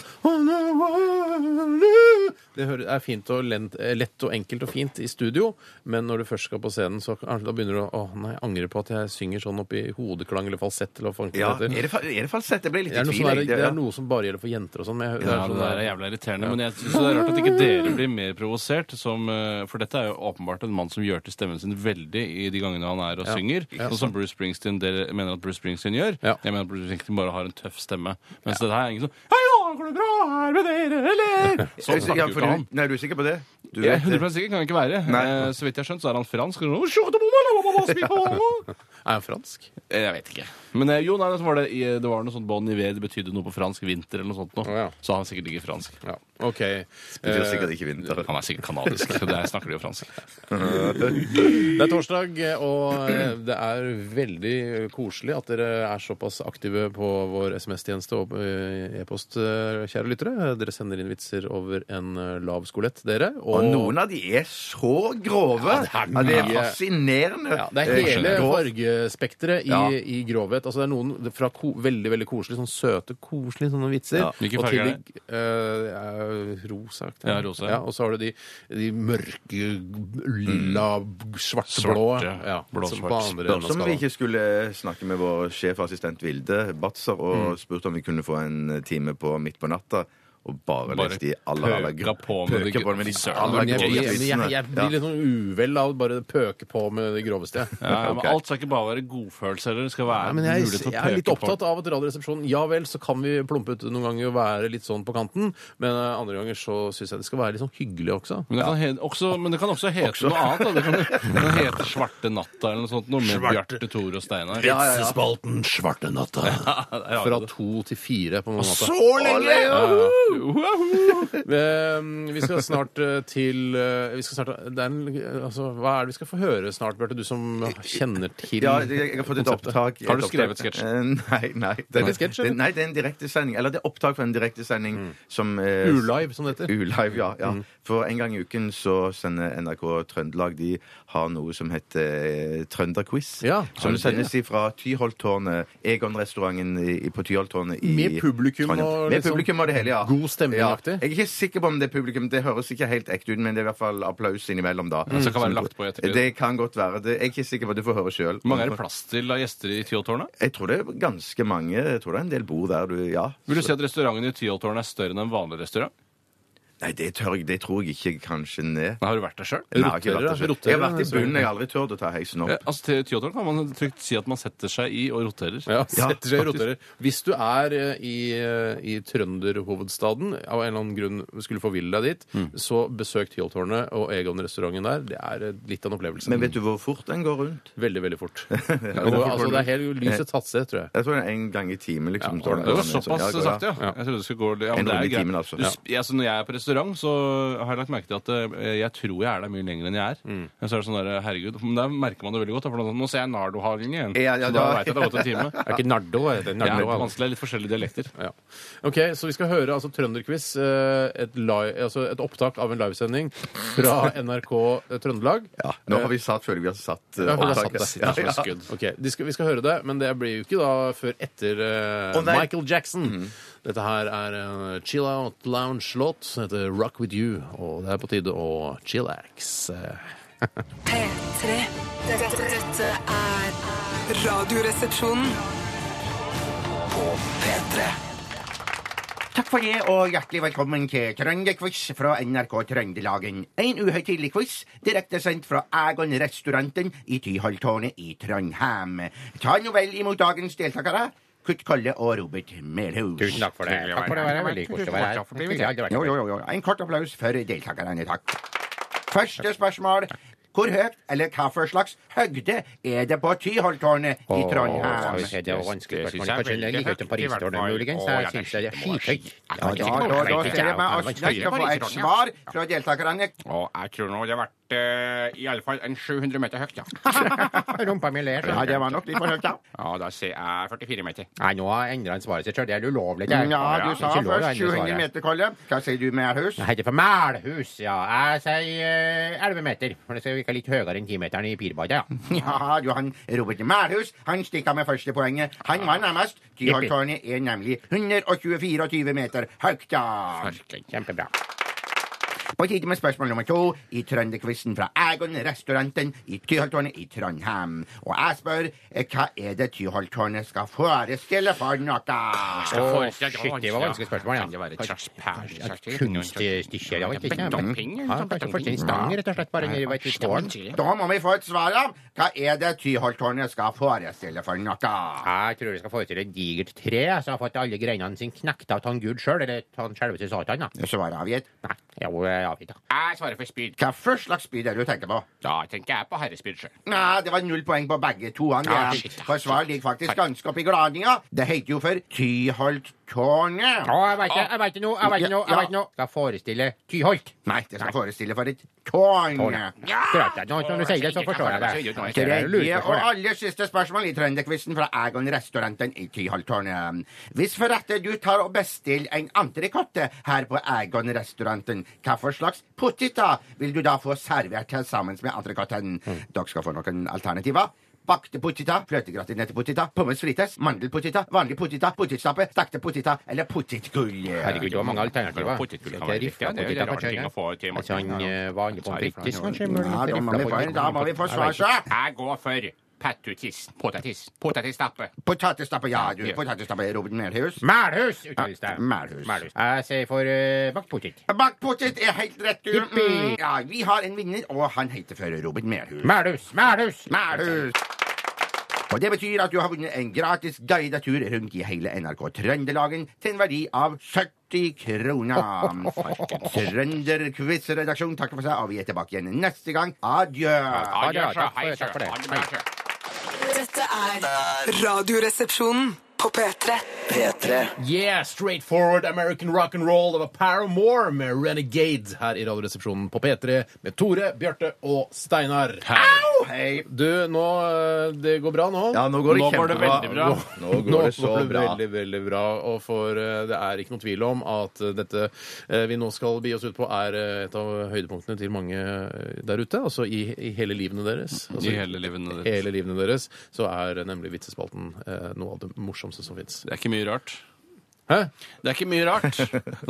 Det hører- er fint og lent, eh, lett og enkelt og fint i studio, men når du først skal på scenen, så kanskje da begynner du å Å nei, jeg angrer på at jeg synger sånn oppi hodeklang eller falsett eller hva faen
ja.
det
Er
heter.
det, fa- er det falsett? Jeg ble litt
Det
i
er, noe
tvil.
som er,
jeg.
det er noe som bare gjelder for jenter og sånn. men jeg- det er
Ja, det
sånn
der er
der-
jævla irriterende, men jeg synes det er rart at ikke dere blir mer provosert. Som, eh, for dette er jo åpenbart en mann som gjør til stemmen sin veldig i de gangene han er og synger. Sånn som Bruce Springsteen, dere mener at Bruce Springsteen gjør.
Ja.
Jeg mener at Bruce Springsteen bare har en tøff stemme. Mens det her er ingen sånn Hei, ja, går det bra her med dere, eller? Sånn snakker
ja,
jo
for
ikke han.
du, nei, du er sikker på det? Du
Jeg er
vet det.
100 sikker kan han ikke være.
Nei.
Eh, Så vidt jeg har skjønt, så er han fransk. Og sånn,
Er han fransk?
Eh, Jeg vet ikke. Men eh, jo, nei, det var, det, i- det var noe sånt Bon Iver, det betydde noe på fransk. Vinter eller noe sånt. Noe.
Å, ja.
Så han sikkert ikke fransk.
Ja. OK.
Det betyr
Eh,
sikkert ikke vinter.
Han er sikkert kanadisk, så der snakker de jo fransk.
Det er torsdag, og eh, det er veldig koselig at dere er såpass aktive på vår SMS-tjeneste og eh, e-post, eh, kjære lyttere. Dere sender inn vitser over en eh, lav skolett, dere.
Og noen av de er så grove!
Ja, det er
Ja, det er
mye.
fascinerende.
ja, det
Eh,
er hele
grov.
fargespekteret i,
Ja.
i grovhet. Altså, det er noen fra ko veldig veldig koselige, sånn søte, koselige sånne vitser.
Ja.
Hvilke
og
farger er
til de, eh, eh, rosa. aktig.
Ja, rosa, ja.
Ja, og så har du de, de mørke, lilla, svart-blå.
Svarte,
Ja,
blå,
som på andre
svart.
Spørs
enden av
om vi
skalaen.
ikke skulle snakke med vår sjefassistent Vilde Batzer og spurt om vi kunne få en eh, time på midt på natta og bare,
Bare
lese de aller, aller
pøka på med de
pøke på med de
søren,
aller
Men jeg, jeg,
gøy,
groveste
jeg, jeg,
vitsene.
blir
altså. Ja.
litt sånn uvel av å bare pøke på med det groveste. jeg.
Ja, men
Ok.
Alt skal ikke bare være godfølelse heller. Det skal være
Nei, men jeg,
mulighet for å
jeg er litt
peke på-
opptatt av at Radioresepsjonen Ja vel, så kan vi plumpe ut noen ganger og være litt sånn på kanten, men eh, andre ganger så syns jeg det skal være litt sånn hyggelig også.
Men det, kan he- også, men det kan også hete noe annet. Da. Det kan, det kan hete Svarte natta eller noe sånt. Noe med
Svarte-
Bjarte, Tore og Steinar.
Vitsespalten Svarte natta.
Ja,
Fra to til fire på mange måter.
Så lenge!
Eh, Vi skal snart eh, til eh, vi skal snart, det er en, altså, Hva er det vi skal få høre snart, Bjarte? Du som kjenner til
Ja, jeg jeg har fått et
konseptet.
opptak.
Har du
Et opptak.
skrevet sketsj?
Eh, Nei, nei. Det
Nei, sketsj, eller?
nei, det er en direktesending. Eller det er opptak fra en direktesending som eh,
Ulive, som det heter.
Ulive, ja.
Mm.
ja. For en gang i uken så sender NRK Trøndelag De har noe som heter eh, Trønderquiz.
Ja, har
som
de det?
sendes fra Tyholttårnet, Egon-restauranten i- i- på Tyholttårnet i
Med publikum
Trondheim.
og
Med
liksom
publikum og det hele, ja.
god stemning-aktig?
Ja. Jeg er ikke sikker på om det er publikum. Det høres ikke helt ekte ut, men det er i hvert fall applaus innimellom, da.
så kan være lagt på i ettertid.
Det kan godt være. Det, jeg er ikke sikker på det. Du får høre sjøl.
Hvor mange er det plass til av gjester i Tyholttårnet?
Jeg tror det er ganske mange. Jeg tror det er en del bor der, du. Ja.
Vil du si at restauranten i Tyholttårnet er større enn en vanlig restaurant?
Nei, det tør jeg. Det tror jeg ikke kanskje ned.
Har du vært der sjøl?
Nei, jeg har ikke vært der selv. Jeg
Roterer, altså.
har vært i
så-
bunnen. Jeg har aldri turt å ta heisen opp.
Altså, til Theodor kan man trygt si at man setter seg i og roterer.
Ja, setter seg i roterer. Hvis du er eh, i, eh, i trønderhovedstaden, av en eller annen grunn skulle forville deg dit,
Mm.
så besøk Tyholttårnet og Egon-restauranten der. Det er eh, litt av en opplevelse.
Men vet du hvor fort den går rundt?
Veldig, veldig fort. og, altså, det er helt lyset tatt seg, tror jeg.
Jeg tror det er en gang i timen. liksom.
Ja,
Det var såpass sakte, ja.
Ja.
Jeg trodde det skulle gå ja,
En
men det er
runde i
greit.
timen, altså.
Du sp- ja, så når jeg er på restaurant, så har jeg lagt merke til at eh, jeg tror jeg er der mye lenger enn jeg er. Men så er det sånn der, herregud, men Der merker man det veldig godt. da, For nå- nå ser jeg Nardo-halen igjen.
Ja, ja,
så da
da-
veit jeg det har gått en time.
Det er ikke Nardo, det er
Det er
Nardo.
vanskelig. Det er litt forskjellige dialekter.
Ja. Ok, så vi skal høre altså, Trønderquiz, eh, et, li- altså, et opptak av en livesending fra NRK eh, Trøndelag.
Ja, nå har vi satt, føler vi har satt uh,
Ja, vi har
opptaket.
satt det.
Ja, ja.
Ok, de skal, Vi skal høre det, men det blir jo ikke da før etter eh,
Å, nei.
Michael Jackson. Dette her er en chill out lounge-låt som heter Rock With You, og det er på tide å chillax. Eh,
P3. Dette, dette er Radioresepsjonen.
Takk for det, og hjertelig velkommen til Trønderquiz fra NRK Trøndelagen. En uhøytidelig quiz direkte sendt fra Egon-restauranten i Tyholttårnet i Trondheim. Ta nå vel imot dagens deltakere. Kurt Kolle og Robert Melhus. Tusen takk for det. Takk for det, det var veldig koselig å være her. Jo, jo, jo. En kort applaus for deltakerne, takk. Første spørsmål. Hvor høyt eller hva for slags høgde er det på Tyholttårnet i Trondheim?
Nei, det var vanskelig spørsmål. Kanskje den ligger ute på Ristårnet, muligens? Jeg synes det er skyhøyt.
Ja, da, da, da ser jeg meg at jeg skal få et svar fra deltakerne.
jeg tror nå det har vært uh, iallfall en 700 meter høyt, ja.
Rumpa mi ler.
Ja, det var nok litt for høyt, da.
Ja, Da sier jeg 44 meter.
Nei, nå har jeg endret svaret sitt sjøl. Det er ulovlig. det.
Ja, du sa
Det er ikke lov å
først
endre
700
svaret.
meter, Kolle. Hva sier du, Melhus?
Jeg heter for Melhus, ja. Jeg sier uh, 11 meter. For det skal virke litt høyere enn 10-meteren i pirbadet, ja.
Ja, du, han Robert Melhus han stikker med første poenget. Han var nærmest. Tyholttårnet er nemlig 124 meter høyt, da.
Kjempebra.
På tide med spørsmål nummer to i Trønderquizen fra Egon-restauranten i Tyholttårnet i Trondheim. Og jeg spør eh, hva er det Tyholttårnet skal forestille for noe?
Å,
forestille-
shit, det var vanskelig spørsmål,
Kan det være et slags pæresaktig?
Kunststykker, jeg vet ikke. Men,
Betopping,
ja, kanskje fått en stang, rett og slett, bare nedi vet du, i tårn.
Da må vi få et svar, da. Hva er det Tyholttårnet skal forestille for noe?
Jeg tror det skal forestille et digert tre som har fått alle greinene sine knekt av han Gud sjøl, eller han selveste Satan, da.
Svaret avgitt.
Nei, jo, jeg vet da.
Jeg svarer for spyd.
Hva for slags spyd er det du tenker på?
Da tenker jeg på herrespyd sjøl.
Nei, det var null poeng på begge to. Han,
Ah,
Geir.
shit, da.
for svar ligger faktisk ganske oppi gladninga. Det heter jo for Tyholttårnet.
Å, jeg veit det, jeg veit det nå, jeg veit det nå, jeg vet det nå. Skal forestille Tyholt.
Nei, det skal forestille for et tårn.
Ja! Nå, når du sier det, så forstår jeg det.
Tredje og aller siste spørsmål i Trønderquizen fra Egon-restauranten i Tyholttårnet. eh. Hvis for rette du tar og bestiller en entrecôte her på Egon-restauranten, hva for slags poteter vil du da få servert til sammen med entrecôten?
Mm.
Dere skal få noen alternativer. Bakte poteter, fløtegratinerte poteter, pommes frites, mandelpoteter, vanlig poteter, potetstappe, stekte poteter eller potetgull.
Herregud, det var mange alternativer.
Potetgull kan være riktig, ja, det er jo
Potetgull,
en rar ting å få til,
Altså, han eh, vanlig pommes frites, kanskje? men
Ja, da må
rifla
vi få,
potetgull.
da må vi få svar, så.
Jeg går for pattutis. Potatis. Potetstappe.
Potetstappe, ja du. Potetstappe, Robert Melhus.
Melhus, uttales det.
Ja, Melhus.
Jeg sier for eh, bakt potet.
Bakt potet er helt rett, du.
Jippi.
Mm, Ja, vi har en vinner, og han heter for Robert Melhus.
Melhus, Melhus!
Melhus! Og det betyr at du har vunnet en gratis guidet tur rundt i hele NRK Trøndelagen til en verdi av 70 kroner. Trønderquiz-redaksjonen takker for seg, og vi er tilbake igjen neste gang. Adjø.
Ja,
Ja,
ja,
sjø.
takk
Hei,
for det,
sjø.
takk for det.
Ha det bra, sjø.
Dette er Radioresepsjonen på P3.
P3
Yeah, straightforward American rock and roll. Det var Paramore med Renegade her i Radioresepsjonen på P3 med Tore, Bjarte og Steinar. Au!
Hei.
Du, nå eh, Det går bra nå?
Ja, nå går det
Nå går det
kjempebra.
veldig bra.
Nå går det så
går det
bra.
veldig, veldig bra. Og for eh, det er ikke noen tvil om at eh, dette eh, vi nå skal bi oss ut på, er eh, et av høydepunktene til mange eh, der ute. Altså i, i hele livene deres. Altså,
I hele livene ditt.
hele livene deres så er eh, nemlig vitsespalten eh, noe av det morsomste som fins.
Det er ikke mye rart.
Hæ?
Det er ikke mye rart.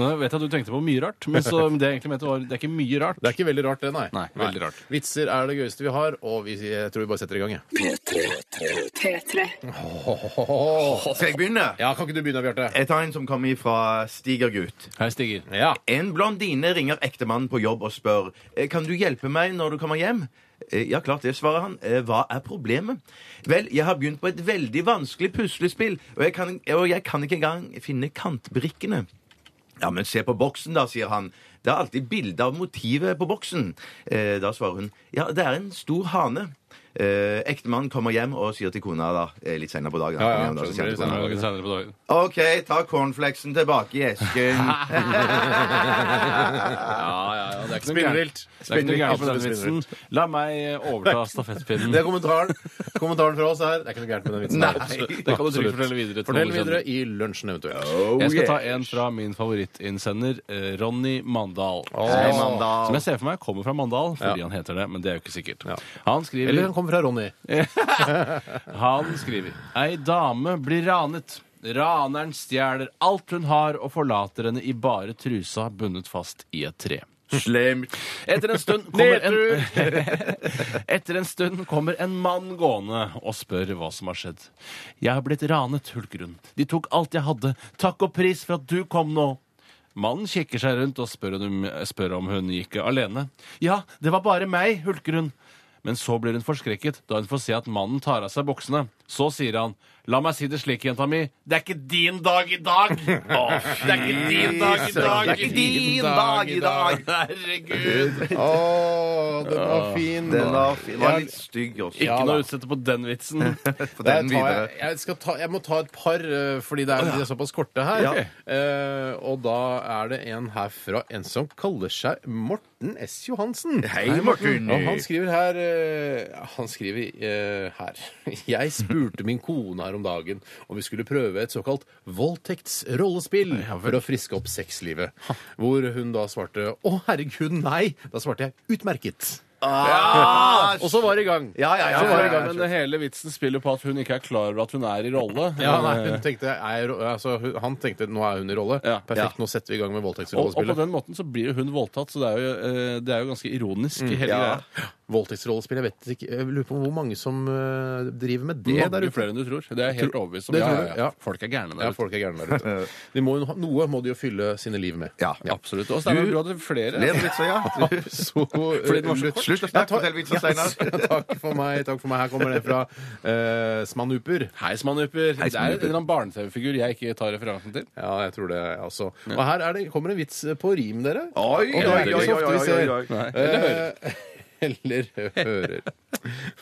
Nå vet jeg at du tenkte på mye rart, men så, det jeg egentlig mente var det er ikke mye rart.
Det er ikke veldig rart, det, nei.
Nei, veldig rart.
Vitser er det gøyeste vi har, og vi, jeg tror vi bare setter i gang, jeg.
P3.
Skal jeg begynne?
Ja, kan ikke du begynne, Bjarte?
Jeg tar en som kommer fra Stigergutt.
Hei, Stiger.
Ja.
En blondine ringer ektemannen på jobb og spør «Eh, Kan du hjelpe meg når du kommer hjem. «Eh, Ja, klart det, svarer han. «Eh, Hva er problemet? Vel, jeg har begynt på et veldig vanskelig puslespill, og jeg kan, og jeg kan ikke engang finne kantbrikkene. Ja, men se på boksen, da, sier han. Det er alltid bilde av motivet på boksen. Eh, da svarer hun ja, det er en stor hane. Eh, Ektemannen kommer hjem og sier til kona da, eh, litt senere på dagen
Ja, ja,
Han kommer hjem da, så
skjønner,
sier han til kona,
litt senere.
Dagen senere på dagen.
OK, ta cornflakesen tilbake i esken.
Ja, ja, ja, det er ikke noe
Spinnvilt.
gærent. Det er ikke noe gærent med den
Absolutt spinnvilt.
vitsen. La meg overta stafettpinnen.
Det er kommentaren. kommentaren fra oss her. Det er ikke noe gærent med den vitsen.
Nei.
Absolutt.
Det kan du trygt
Absolutt.
fortelle videre til
Fortell
noen du
videre i lunsjen eventuelt.
Jeg skal ta en fra min favorittinnsender, eh, Ronny Mandal.
Hei, Mandal.
Som jeg ser for meg kommer fra Mandal, fordi han heter det, men det er jo ikke sikkert. Han skriver
Eller han kommer fra Ronny.
Han skriver Ei dame blir ranet. Raneren stjeler alt hun har og forlater henne i bare trusa bundet fast i et tre.
Slemt.
Etter en stund kommer en, Etter en stund kommer en mann gående og spør hva som har skjedd. Jeg har blitt ranet, hulker hun. De tok alt jeg hadde. Takk og pris for at du kom nå. Mannen kikker seg rundt og spør om, spør om hun gikk alene. Ja, det var bare meg, hulker hun. Men så blir hun forskrekket da hun får se at mannen tar av seg boksene. Så sier han, la meg si det slik, jenta mi, det er ikke din dag i dag! Å, det er ikke din dag i dag!
Det er ikke din dag i dag!
Herregud!
Å, den var fin.
Den var, fin. Den var litt stygg også.
Ikke noe å utsette på den vitsen.
For
Der
den
tar
videre.
jeg, jeg, skal ta, jeg må ta et par, eh, fordi det er, de er såpass korte her.
Ja.
Eh, og da er det en her fra en som kaller seg Morten S. Johansen.
Hei, Morten.
Og han skriver her eh, Han skriver eh, her. Jeg spurte min kone her om dagen om vi skulle prøve et såkalt voldtektsrollespill for å friske opp sexlivet. Hvor hun da svarte 'Å, herregud, nei'. Da svarte jeg 'utmerket'.
Ah,
Og så var det i gang.
Ja, ja, ja,
Så var det i
ja, ja.
gang.
Men hele vitsen spiller på at hun ikke er klar over at hun er i rolle. Eh,
Ja, nei, hun tenkte, er, i ro- altså, hun- Han tenkte nå er hun i rolle.
Ja.
Perfekt, nå setter vi i gang med
og, og på
voldtektsrollespillet.
den måten så blir jo hun voldtatt, så det er jo, eh, det er jo ganske ironisk.
Mm.
i hele
ja.
greia.
Voldtektsrollespill, jeg vet ikke Jeg lurer på hvor mange som eh, driver med det
Mange
der ute.
flere enn du tror. Det er jeg helt overbevist om.
det tror jeg, ja.
Folk er gærne
Ja,
der ute.
folk er gærne der ute. De må, jo ha- noe må de jo fylle sine liv med.
Ja.
Absolutt. Og Steinar,
Du-
du hadde flere.
Lev litt, så ja.
Så, eh,
Fordi den var så kort.
Slutt å snakke
Ja, ta-
hotellvitser, Steinar.
Ja, takk for meg. takk for meg. Her kommer det fra eh, Smanuper.
Hei, Smanuper. Det er en
Smanuper.
eller annen barne-TV-figur jeg ikke tar referansen til.
Ja, jeg tror det, altså. Og her er det, kommer en vits eh, på rim, dere.
Oi,
Og det er ikke så ofte vi ser.
Nei.
Eller hører. Eh, Eller hører.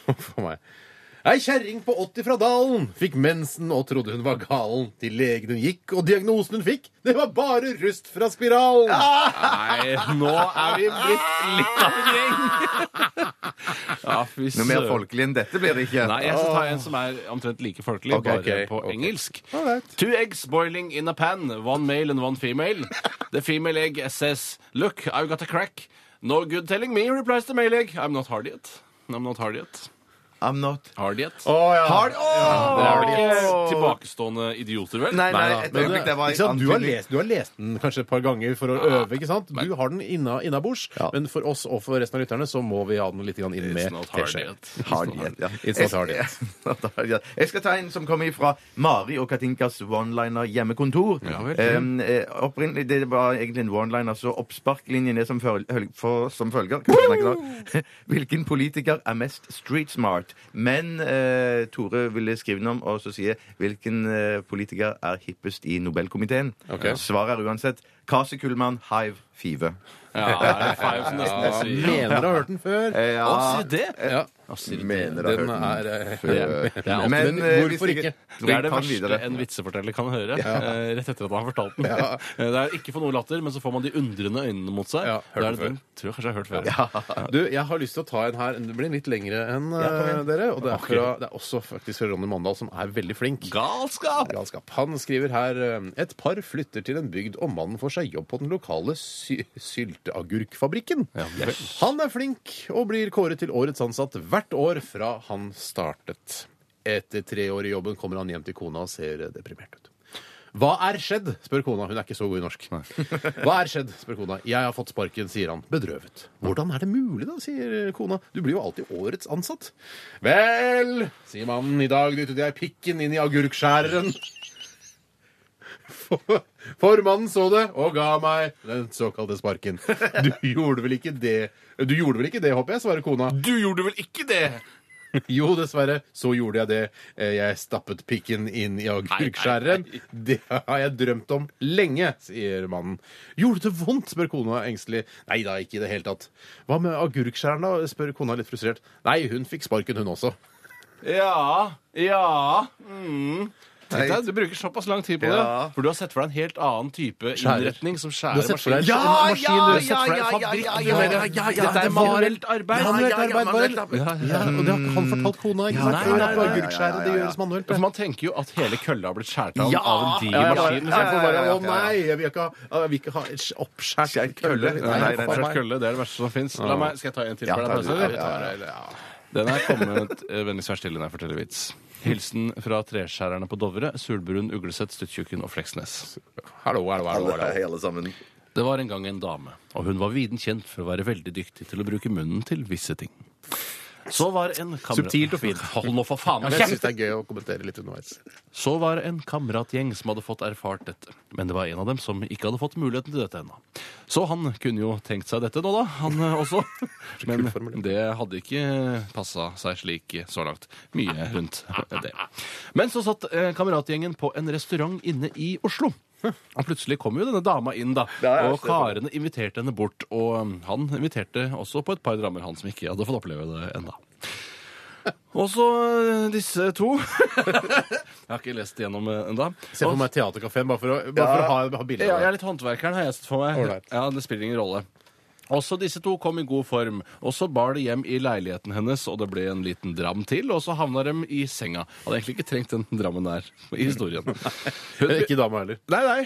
Huff a meg. Ei kjerring på 80 fra Dalen fikk mensen og trodde hun var galen. Til legen hun gikk, og diagnosen hun fikk, det var bare rust fra spiralen!
Nei, nå er vi blitt litt av en gjeng! Ja, fy
Noe mer
søren.
folkelig enn dette blir det ikke.
Nei, jeg skal ta en som er omtrent like folkelig,
Ok,
bare
ok,
på
ok.
engelsk.
Alright.
Two eggs boiling in a pan, one male and one female. The female egg says, look, I've got a crack. No good telling me, replies the male egg. I'm not hard yet. I'm not hard yet.
I'm not
Hard yet.
Å, ja.
hard.
Dere er vel ikke
Åh!
tilbakestående idioter, vel?
Nei, nei,
Nei da,
et
men
øyeblikk,
det-
det var
ikke sant?
en
du, har
antydning.
lest, du har lest den kanskje et par ganger for å øve, ikke sant? Du har den inna- innabords, men for oss og for resten av lytterne så må vi ha den litt grann inn
It's
med
not hard
teskje.
yet.
Hard yet, ja.
It's not hard yet.
It's not hard yet. Jeg skal ta en som kommer fra Mari og Katinkas one-liner hjemmekontor. Em, eh, opprinnelig, det var egentlig en one-liner, så oppsparklinjen er som, føl høl- for, som følger. Kan vi snakke da? Hvilken politiker er mest street smart? Men eh, Tore ville skrive den om og så sier hvilken eh, politiker er hippest i Nobelkomiteen?
Ok.
Svaret er uansett Kasi Kullmann, Hive, Five.
Ja, det er en feil som nesten
Ja,
sier.
mener du har hørt den før?
Ja.
Å, sier det?
Ja.
Mener du har hørt den?
Den er eh,
Det er
Men
Men, eh,
hvorfor
hvis
ikke?
Det er det
Kan
verste
videre.
en vitseforteller kan høre. eh, Rett etter at han har fortalt den.
Ja.
Eh, Det er ikke for noe latter, men så får man de undrende øynene mot seg.
Ja, hørt
det er
den
den
før.
tror jeg kanskje jeg har hørt før.
Du, jeg har lyst til å ta en her. Det blir litt lengre enn eh, dere. Og det
Ah,
er, fra, det er også faktisk fra Ronny Mandal, som er veldig flink.
Galskap!
Galskap. Han skriver her eh, et par flytter til en bygd, og mannen får seg jobb på den lokale sy sylteagurkfabrikken. Han er flink og blir kåret til årets ansatt hvert år fra han startet. Etter tre år i jobben kommer han hjem til kona og ser eh, deprimert ut. Hva er skjedd? spør kona. Hun er ikke så god i norsk. Hva er skjedd? spør kona. Jeg har fått sparken, sier han. Bedrøvet. Hvordan er det mulig, da? sier eh, kona. Du blir jo alltid årets ansatt. Vel, sier mannen, i dag dyttet jeg pikken inn i agurkskjæreren. For- Formannen så det og ga meg den såkalte sparken. Du gjorde vel ikke det? Du gjorde vel ikke det, håper jeg, svarer kona.
Du gjorde vel ikke det?
Jo, dessverre, så gjorde jeg det. Eh, Jeg stappet pikken inn i agurkskjæreren. Det har jeg drømt om lenge, sier mannen. Gjorde det vondt? spør kona engstelig. Nei da, ikke i det hele tatt. Hva med agurkskjæreren, da? spør kona litt frustrert. Nei, hun fikk sparken, hun også.
Ja. Ja. Mm. Tenk deg, du bruker såpass lang tid på
Ja.
det, for du har sett for deg en helt annen type
Skjærer.
innretning som
Du har
skjærer
sett for deg en
maskiner.
maskin, du har sett
ja,
for deg en
ja,
fabrikk.
ja,
Du
ja,
mener,
ja, ja, ja,
Dette
det
er
er
manuelt arbeid.
Ja,
Manuelt
ja, ja,
arbeid,
manuelt
bare. Ja, og det har han fortalt kona. ikke sant?
Nei, nei, nei,
På agurkskjæret, det gjøres manuelt.
For man tenker jo at hele kølla har blitt skjært av,
Ja.
av en
Ja, jeg
diger
bare-
maskin. liksom.
jeg får bare,
ja, ja,
Å
ja.
nei, jeg vil ikke ha, jeg vil ikke ha et oppskjært
Skjært kølle.
Nei,
Nei, nei,
faen
Skjært
meg.
kølle, det er det verste som fins. Skal jeg ta en til?
Ja,
for
ta
deg,
den.
Pause, eller?
Ja, ja, ja.
Jeg tar- eller, ja. Den er kommet eh, Vennligst vær stille når jeg forteller vits. Hilsen fra treskjærerne på Dovre, Sulbrun, Ugleseth, Stuttjukken og Fleksnes.
Hallo, hallo, hallo.
Alle,
hallo.
hei, alle sammen.
Det var en gang en dame, og hun var viden kjent for å være veldig dyktig til å bruke munnen til visse ting. Så var en kamerat...
Subtilt og fint.
Hold nå for faen!
Men jeg syns det er gøy å kommentere litt underveis.
Så var det en kameratgjeng som hadde fått erfart dette. Men det var en av dem som ikke hadde fått muligheten til dette ennå. Så han kunne jo tenkt seg dette nå, da, han eh, også. Men det hadde ikke passa seg slik så langt. Mye rundt det. Men så satt eh, kameratgjengen på en restaurant inne i Oslo. Og plutselig kom jo denne dama inn, da. Og karene inviterte henne bort. Og eh, han inviterte også på et par drammer, han som ikke hadde fått oppleve det ennå. Og så eh, disse to jeg har ikke lest igjennom eh, enda.
Se for
Og-
meg Theatercaféen, bare for å, bare for å ha, ha bilde
Ja, jeg
av
er
det.
litt håndverkeren, har jeg sett for meg.
Ålreit.
Ja, Det spiller ingen rolle. Også disse to kom i god form, og så bar det hjem i leiligheten hennes, og det ble en liten dram til, og så havna dem i senga. Hadde egentlig ikke trengt den drammen der i historien. Hun,
Ikke dama heller.
Nei, nei.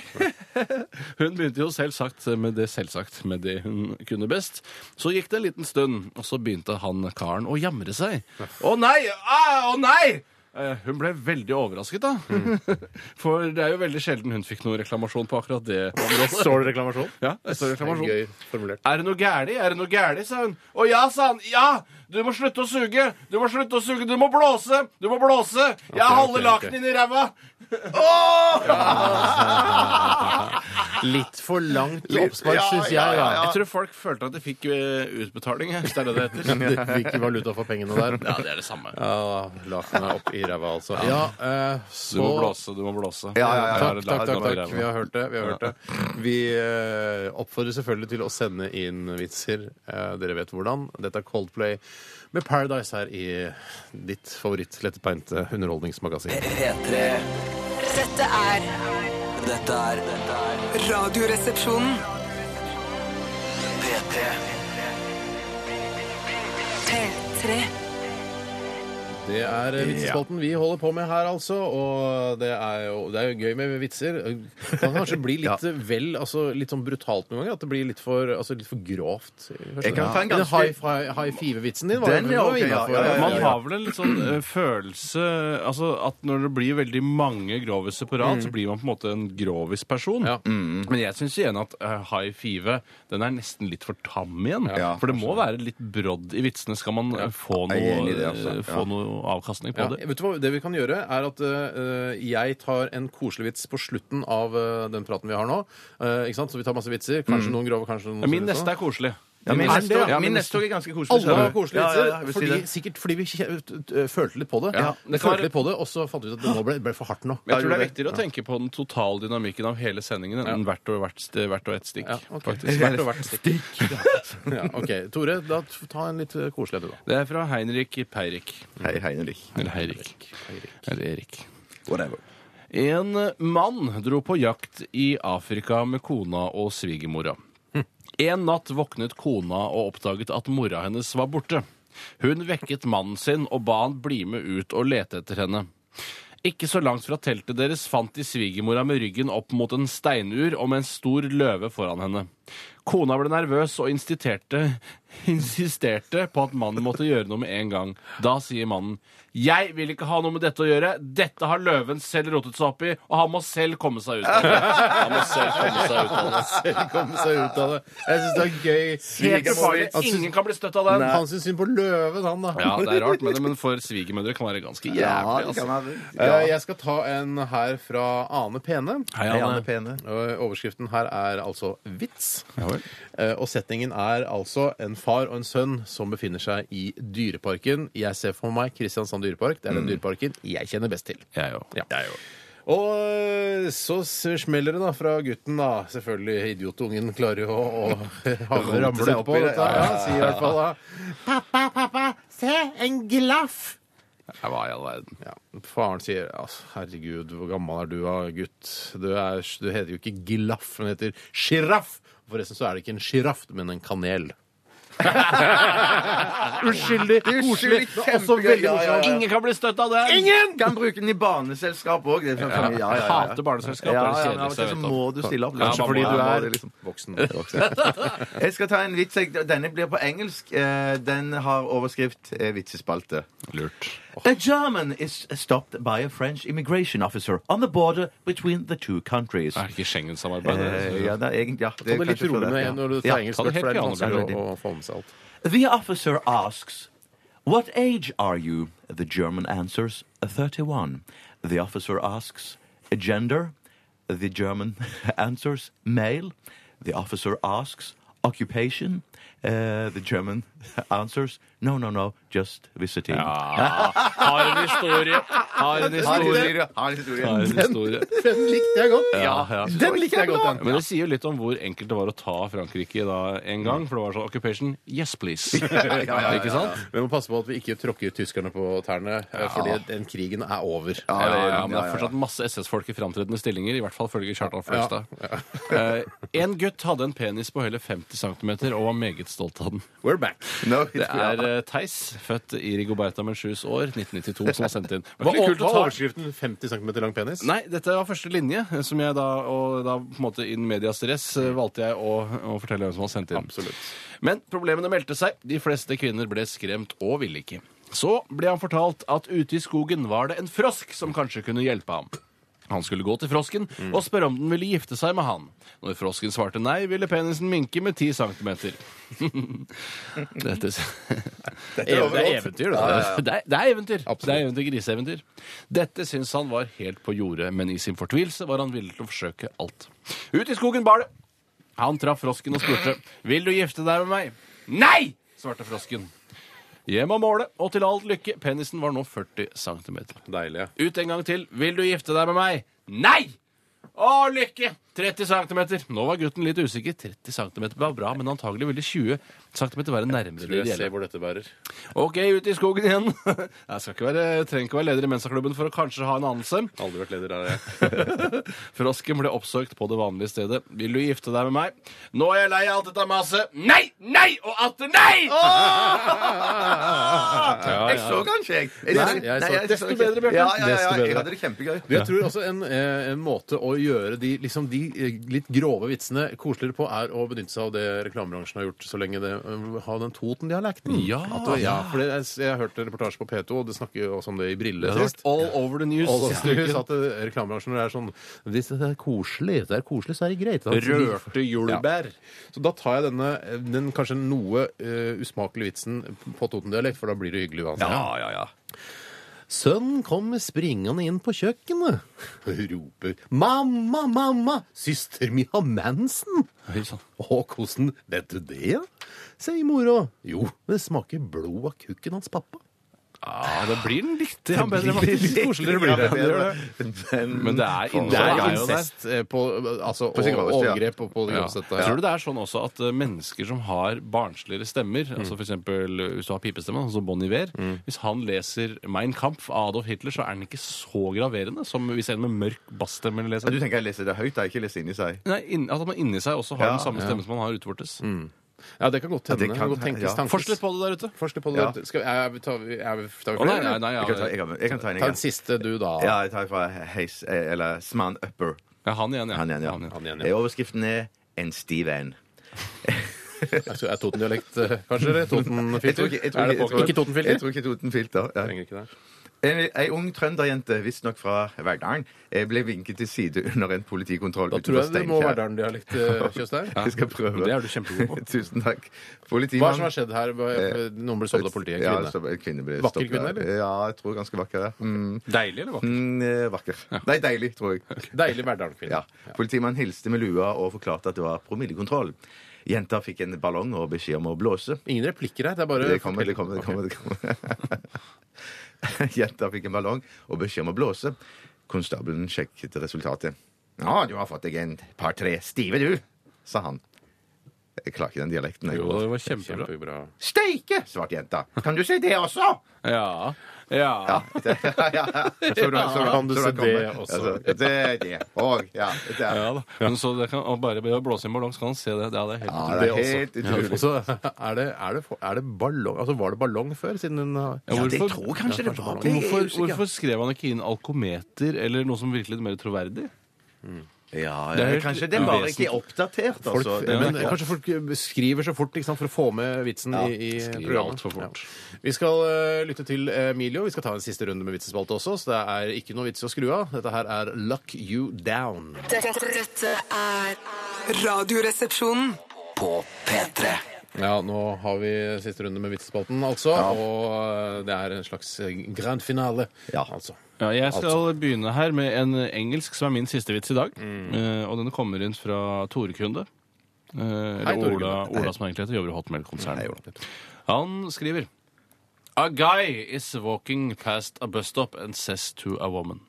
Hun begynte jo selvsagt med det selvsagt med det hun kunne best. Så gikk det en liten stund, og så begynte han karen å jamre seg. Å nei! Ah, Å nei! Eh, Hun ble veldig overrasket, da. For det er jo veldig sjelden hun fikk noen reklamasjon på akkurat det området.
Står det reklamasjon?
Ja, det står reklamasjon.
Gøy formulert.
Er det noe gærlig? Er det noe gærlig? sa hun. Å ja, sa han. Ja! Du må slutte å suge! Du må slutte å suge! Du må blåse! Du må blåse! Jeg
ok,
holder
ok.
lakenet inni ræva!
Ah. Litt for langt oppspark, syns jeg.
Ja,
Ja,
Jeg tror folk følte at de fikk eh, utbetaling. jeg, Hvis det er det det heter.
Du fikk valuta for pengene der.
Ja, det er det samme.
Ja, Lakenet opp i ræva, altså. Ja, eh,
Du må
så
blåse, du må blåse.
Ja, ja, ja.
Takk, takk, takk, takk. Vi har hørt det. Vi, har hørt det. vi eh, oppfordrer selvfølgelig til å sende inn vitser. Eh, dere vet hvordan. Dette er Coldplay med Paradise her i ditt favoritt-lettbeinte underholdningsmagasin.
P3.
Dette er
Dette er dette er
Radioresepsjonen.
P3.
P3.
Det er eh, vitsespalten vi holder på med her, altså. Og det er jo, det er jo gøy med vitser. Det kan kanskje bli litt eh, vel altså, litt sånn brutalt noen ganger. At det blir litt for, altså, litt for grovt.
Jeg kan ta en
Men
ganske-
high, fi- high five-vitsen din var
Den er
jo
ok, ja,
innenfor.
ja, ja, ja.
Man har vel en litt sånn eh, følelse Altså at når det blir veldig mange groviser på
Mm.
rad, så blir man på en måte en grovis-person.
Ja.
Men jeg syns igjen at eh, high five den er nesten litt for tam igjen.
Ja,
for det må være litt brodd i vitsene skal man eh, få
Jeg er
noe,
enig i det, altså.
eh,
Ja.
få noe avkastning på
Ja,
det.
vet du hva, Det vi kan gjøre, er at øh, jeg tar en koselig vits på slutten av øh, den praten vi har nå. Øh, ikke sant? Så vi tar masse vitser.
Mm.
Kanskje noen grove, kanskje noen sånn.
Ja, Min neste er koselig.
Ja, min
Er
neste
det det?
år-
Ja,
min
men-
neste år er ganske koselig.
Alle
skjønner
har
du.
koselige
Ja, ja,
vitser.
ja, jeg vil si
fordi,
det.
sikkert fordi vi kje- øh, følte litt på det.
Ja, det kan
følte
være-
litt på det, Og så fant vi ut at det nå ble, ble for hardt nå.
Jeg tror det
gjorde
er
det.
viktigere å tenke på den totale dynamikken av hele sendingen enn hvert og hvert, st- hvert og ett stikk.
Ja, ok.
faktisk.
Hvert og hvert stikk. Ja, ok, Tore, da t- ta en litt øh, koselig en, du, da.
Det er fra Heinrich Peirik.
Hei, hei, Henrik.
Eller Heirik. Eller Erik.
Whatever.
En mann dro på jakt i Afrika med kona og svigermora. En natt våknet kona og oppdaget at mora hennes var borte. Hun vekket mannen sin og ba han bli med ut og lete etter henne. Ikke så langt fra teltet deres fant de svigermora med ryggen opp mot en steinur og med en stor løve foran henne. Kona ble nervøs og insisterte insisterte på at mannen måtte gjøre noe med en gang. Da sier mannen jeg vil ikke ha noe med dette å gjøre. Dette har løven selv rotet seg opp i, og han må selv komme seg ut av det. Han må selv komme seg ut av det.
Selv kom seg ut av det. Jeg syns det er gøy.
Helt ufarlig.
Han syns-
Ingen kan bli støtt av den.
Han syns synd på løven, han, da.
Ja, det er rart med det, men for svigermødre kan være ganske jævlig. altså.
Eh, Jeg skal ta en her fra Ane Pene.
Hei, Ane. Ane
Pene.
Og Overskriften her er altså 'vits'.
Ja vel.
Eh, Og settingen er altså en far og en sønn som befinner seg i Dyreparken. Jeg ser for meg Kristiansand dyrepark. Det er den
Mm.
dyreparken jeg kjenner best til.
Jeg òg.
Ja. Og eh, så s- smeller det da fra gutten, da. Selvfølgelig idiotungen klarer jo å, å hamre- ramle
seg
oppå
oppi det.
dette. her, Ja, sier i hvert fall da.
Pappa, pappa, se, en glaff!
Jeg var i all verden.
Ja. Faren sier altså, 'herregud, hvor gammel er du, da, gutt'? Du, er, du heter jo ikke Gilaff, men heter Sjiraff. Forresten så er det ikke en sjiraff, men en kanel. Uskyldig,
Uskyldig,
koselig, men også veldig
kjempegøy, ja, ja,
morsomt.
ja.
Ingen kan bli støtt av det!
Kan bruke den i barneselskap òg. Ja, sånn- ja, ja, ja.
Jeg hater barneselskap.
Ja,
det er det
ja, men av og til så
kjedeligste jeg vet om.
må du stille opp.
Ja,
Kanskje
man må
fordi
det,
du
man må
er
det, liksom.
Voksen.
Jeg skal ta en vits. jeg. Denne blir på engelsk. Eh, Den har overskrift eh, vitsespalte.
Lurt.
A German is stopped by a French immigration officer on the border between the two countries.
Er det ikke Schengen-samarbeidet?
Eh, ja, det er egentlig, ja,
Ta
det er
det litt
kanskje fra
rolig
det,
med
ja.
en når du
Ja.
tar engelsk
ta det
først,
helt
for det er litt
piano,
vanskelig å, å få med seg alt.
The officer asks, What age are you? The German answers, 31. The officer asks, Gender? The German answers, Male. The officer asks, Occupation? Uh, the German answers, No, no, no, just visiting.
Har en historie! Har en historie! Har en historie.
Den likte jeg godt.
Ja, ja.
Den likte jeg godt, den.
Men det sier jo litt om hvor enkelt det var å ta Frankrike da en gang. For det var sånn occupation. Yes, please. Ikke sant?
Vi må passe på at vi ikke tråkker tyskerne på tærne, eh, fordi den krigen er over. Eh,
Ja, ja, men det er fortsatt masse SS-folk i framtredende stillinger, i hvert fall følge Kjartan Fløgstad. Eh, en gutt hadde en penis på hele 50 cm og var meget stolt av den.
We're back.
Det er eh, Theis, født i Rigoberta Menchus år, 1992, som har sendt inn. Det
Hva
var ikke
var
kult å ta
overskriften 50 cm lang penis?
Nei, dette var første linje, eh, som jeg da, og da på en måte in medias res eh, valgte jeg å, å fortelle hvem som hadde sendt inn.
Absolutt.
Men problemene meldte seg. De fleste kvinner ble skremt og ville ikke. Så ble han fortalt at ute i skogen var det en frosk som kanskje kunne hjelpe ham. Han skulle gå til frosken og spørre om den ville gifte seg med han. Når frosken svarte nei, ville penisen minke med 10 cm. Dette
er
Ev- Det er eventyr, da. Det er, det er eventyr. Det er eventyr, Griseeventyr. Dette syns han var helt på jordet, men i sin fortvilelse var han villig til å forsøke alt. Ut i skogen bar det. Han traff frosken og spurte Vil du gifte deg med meg. Nei! svarte frosken. Hjem og måle, og til alt lykke. Penisen var nå 40 cm.
Deilig.
Ut en gang til. Vil du gifte deg med meg? Nei! Å, lykke! 30 cm. Nå var gutten litt usikker. 30 cm var bra, men antagelig ville 20 cm være nærmere det
Vil jeg
ideelle.
se hvor dette bærer.
Ok, ut i skogen igjen. Jeg skal ikke være, trenger ikke være leder i Mensa-klubben for å kanskje ha en anelse.
Aldri vært leder der, jeg.
Frosken ble oppsøkt på det vanlige stedet. Vil du gifte deg med meg? Nå er jeg lei av alt dette maset. Nei, nei og atter nei! Ja,
Jeg så kanskje, jeg. Jeg-
Nei, jeg så-
Desto
ikke.
bedre, Bjarte.
Ja, ja,
Desto
ja, jeg
bedre.
hadde det kjempegøy.
Du, Jeg tror også en, eh, en måte å gjøre de, liksom de eh, litt grove vitsene koseligere på, er å benytte seg av det reklamebransjen har gjort så lenge det eh, har den Toten-dialekten.
Ja.
At det- ja for det, jeg, jeg har hørt en reportasje på P2, og det snakker jo også om det i Brille.
Det har vært all over the news.
Og så
siste uken.
at eh, reklamebransjen er sånn Hvis det er koselig, det er koselig, så er det greit. Altså, de-
Rørte jordbær.
Så da tar jeg denne eh, den kanskje noe eh, usmakelige vitsen på Toten-dialekt, for da blir det hyggelig uansett.
Ja, ja, ja.
Sønnen kommer springende inn på kjøkkenet. Hun roper 'Mamma, mamma! Søster mi har mensen!'
Oi, sann.
Å, hvordan Vet du det? sier mora. Jo, det smaker blod av kukken hans pappa.
Ja, det blir den litt ja, bedre,
blir
faktisk.
litt-
Koseligere blir det.
Ja,
det, gjør det. Men det er
Faen,
innhold,
det er
jo der.
incest eh, på, eh, altså,
På sin
og-
groveste, ja.
overgrep og på det
Ja.
groveste. Ja.
Tror du det er sånn også at eh, mennesker som har barnsligere stemmer, altså for eksempel eh, hvis du har pipestemme, altså Bon Iver, hvis han leser Mein Kampf av Adolf Hitler, så er den ikke så graverende som hvis en med mørk bassstemme
Ja,
leser
Du
den.
tenker jeg leser det høyt, da, ikke leser inni seg?
Nei, inn, altså at man inni seg også har
Ja,
den samme stemmen som man har utvortes.
Ja, det kan godt hende.
Ja, det
det
kan-
kan godt tenkes
ja.
tankes.
Forsk litt på det der ute.
Forsk litt på det.
Ja.
Skal, er, vi- tar vi, er, vi- tar vi flere,
Å, nei, nei,
eller?
nei,
Jeg
ja,
kan ta, jeg kan, jeg kan ta en
Ta den
igjen.
siste du, da.
Ja, jeg tar fra Heis, eh, eller Sman Upper.
ja, Eh, han igjen, ja.
Han igjen, ja.
Han igjen.
Han igjen, ja.
Eh, Overskriften er En sti venn.
Altså, Er Toten-dialekt eh, kanskje? Eller
Jeg tror
Toten-filter?
ikke, jeg tror
Er
ikke,
det
jeg
påkrevd?
tror-
Ikke
Jeg
Toten-filter?
tror ikke Totenfilter. Ja.
Trenger ikke det.
En, ei ung trønderjente, visstnok fra Verdalen, eh, ble vinket til side under en politikontroll
Da tror jeg det må Verdalen-dialekt, eh, Tjøstheim.
Jeg skal prøve.
Det er du kjempegod på.
Tusen takk.
Hva er
Politimann
det som har skjedd her? Hva- Noen ble stoppet av politiet.
Ja,
Kvinne.
så en kvinne ble
Vakker
stoppet.
kvinne, eller?
Ja, jeg tror ganske vakker. ja. Mm,
Deilig, eller hva?
mm, eh, vakker. Nei, deilig, tror jeg.
Deilig Verdalen-kvinne.
Ja. Politimannen hilste med lua og forklarte at det var promillekontroll. Jenta fikk en ballong og beskjed om å blåse.
Ingen replikker her. Det er bare
Det kommer, det kommer, det kommer. Det kommer. Jenta fikk en ballong og beskjed om å blåse. Konstabelen sjekket resultatet. Ja, du har fått deg en par-tre stive, du, sa han. Jeg klarer ikke den dialekten. Jeg.
Jo, det var
Ok,
kjempebra.
Kjempebra.
Steike!
Svarte jenta. Kan du si det også?
Ja. ja.
ja, ja. Så bra, så bra.
Kan du
Så
se
bra kommer.
det også?
Ja, så- det, det. Og, ja, det er.
Ja da. Men så det kan, og bare ved å blåse i en ballong, så kan han se det. Ja, det er helt
Ja,
utrolig.
det er helt
Ja,
utrolig.
og så er det, er det, er det ballong Altså, var det ballong før, siden hun har
Ja,
det
hvorfor-
tror jeg kanskje det var.
Men Hvorfor,
Det er usikker.
hvorfor skrev han ikke inn alkometer eller noe som virker litt mer troverdig?
Ja,
Det er
ja,
helt
kanskje den var ikke oppdatert,
Folk,
altså. Den-
men kanskje folk eh, skriver så fort ikke sant, for å få med vitsen i, i
skriver
programmet.
alt for fort.
Ja. Vi skal eh, lytte til Emilio. Vi skal ta en siste runde med vitsespalte også, så det er ikke noe vits i å skru av. Dette her er Luck You Down.
Dette, dette er
Radioresepsjonen.
På P3
Ja, nå har vi siste runde med vitsespalten, altså. Og eh, det er en slags eh, grand finale.
Ja.
Altså.
Ja, jeg skal begynne her med en engelsk som er min siste vits i dag. Eh, og denne kommer inn fra Tore Kunde. Eh, eller
Hei, Tore
Ola,
Kunde.
Ola som egentlig heter, jobber i Hotmail-konsernet. Han skriver A guy is walking past a bus stop and says to a woman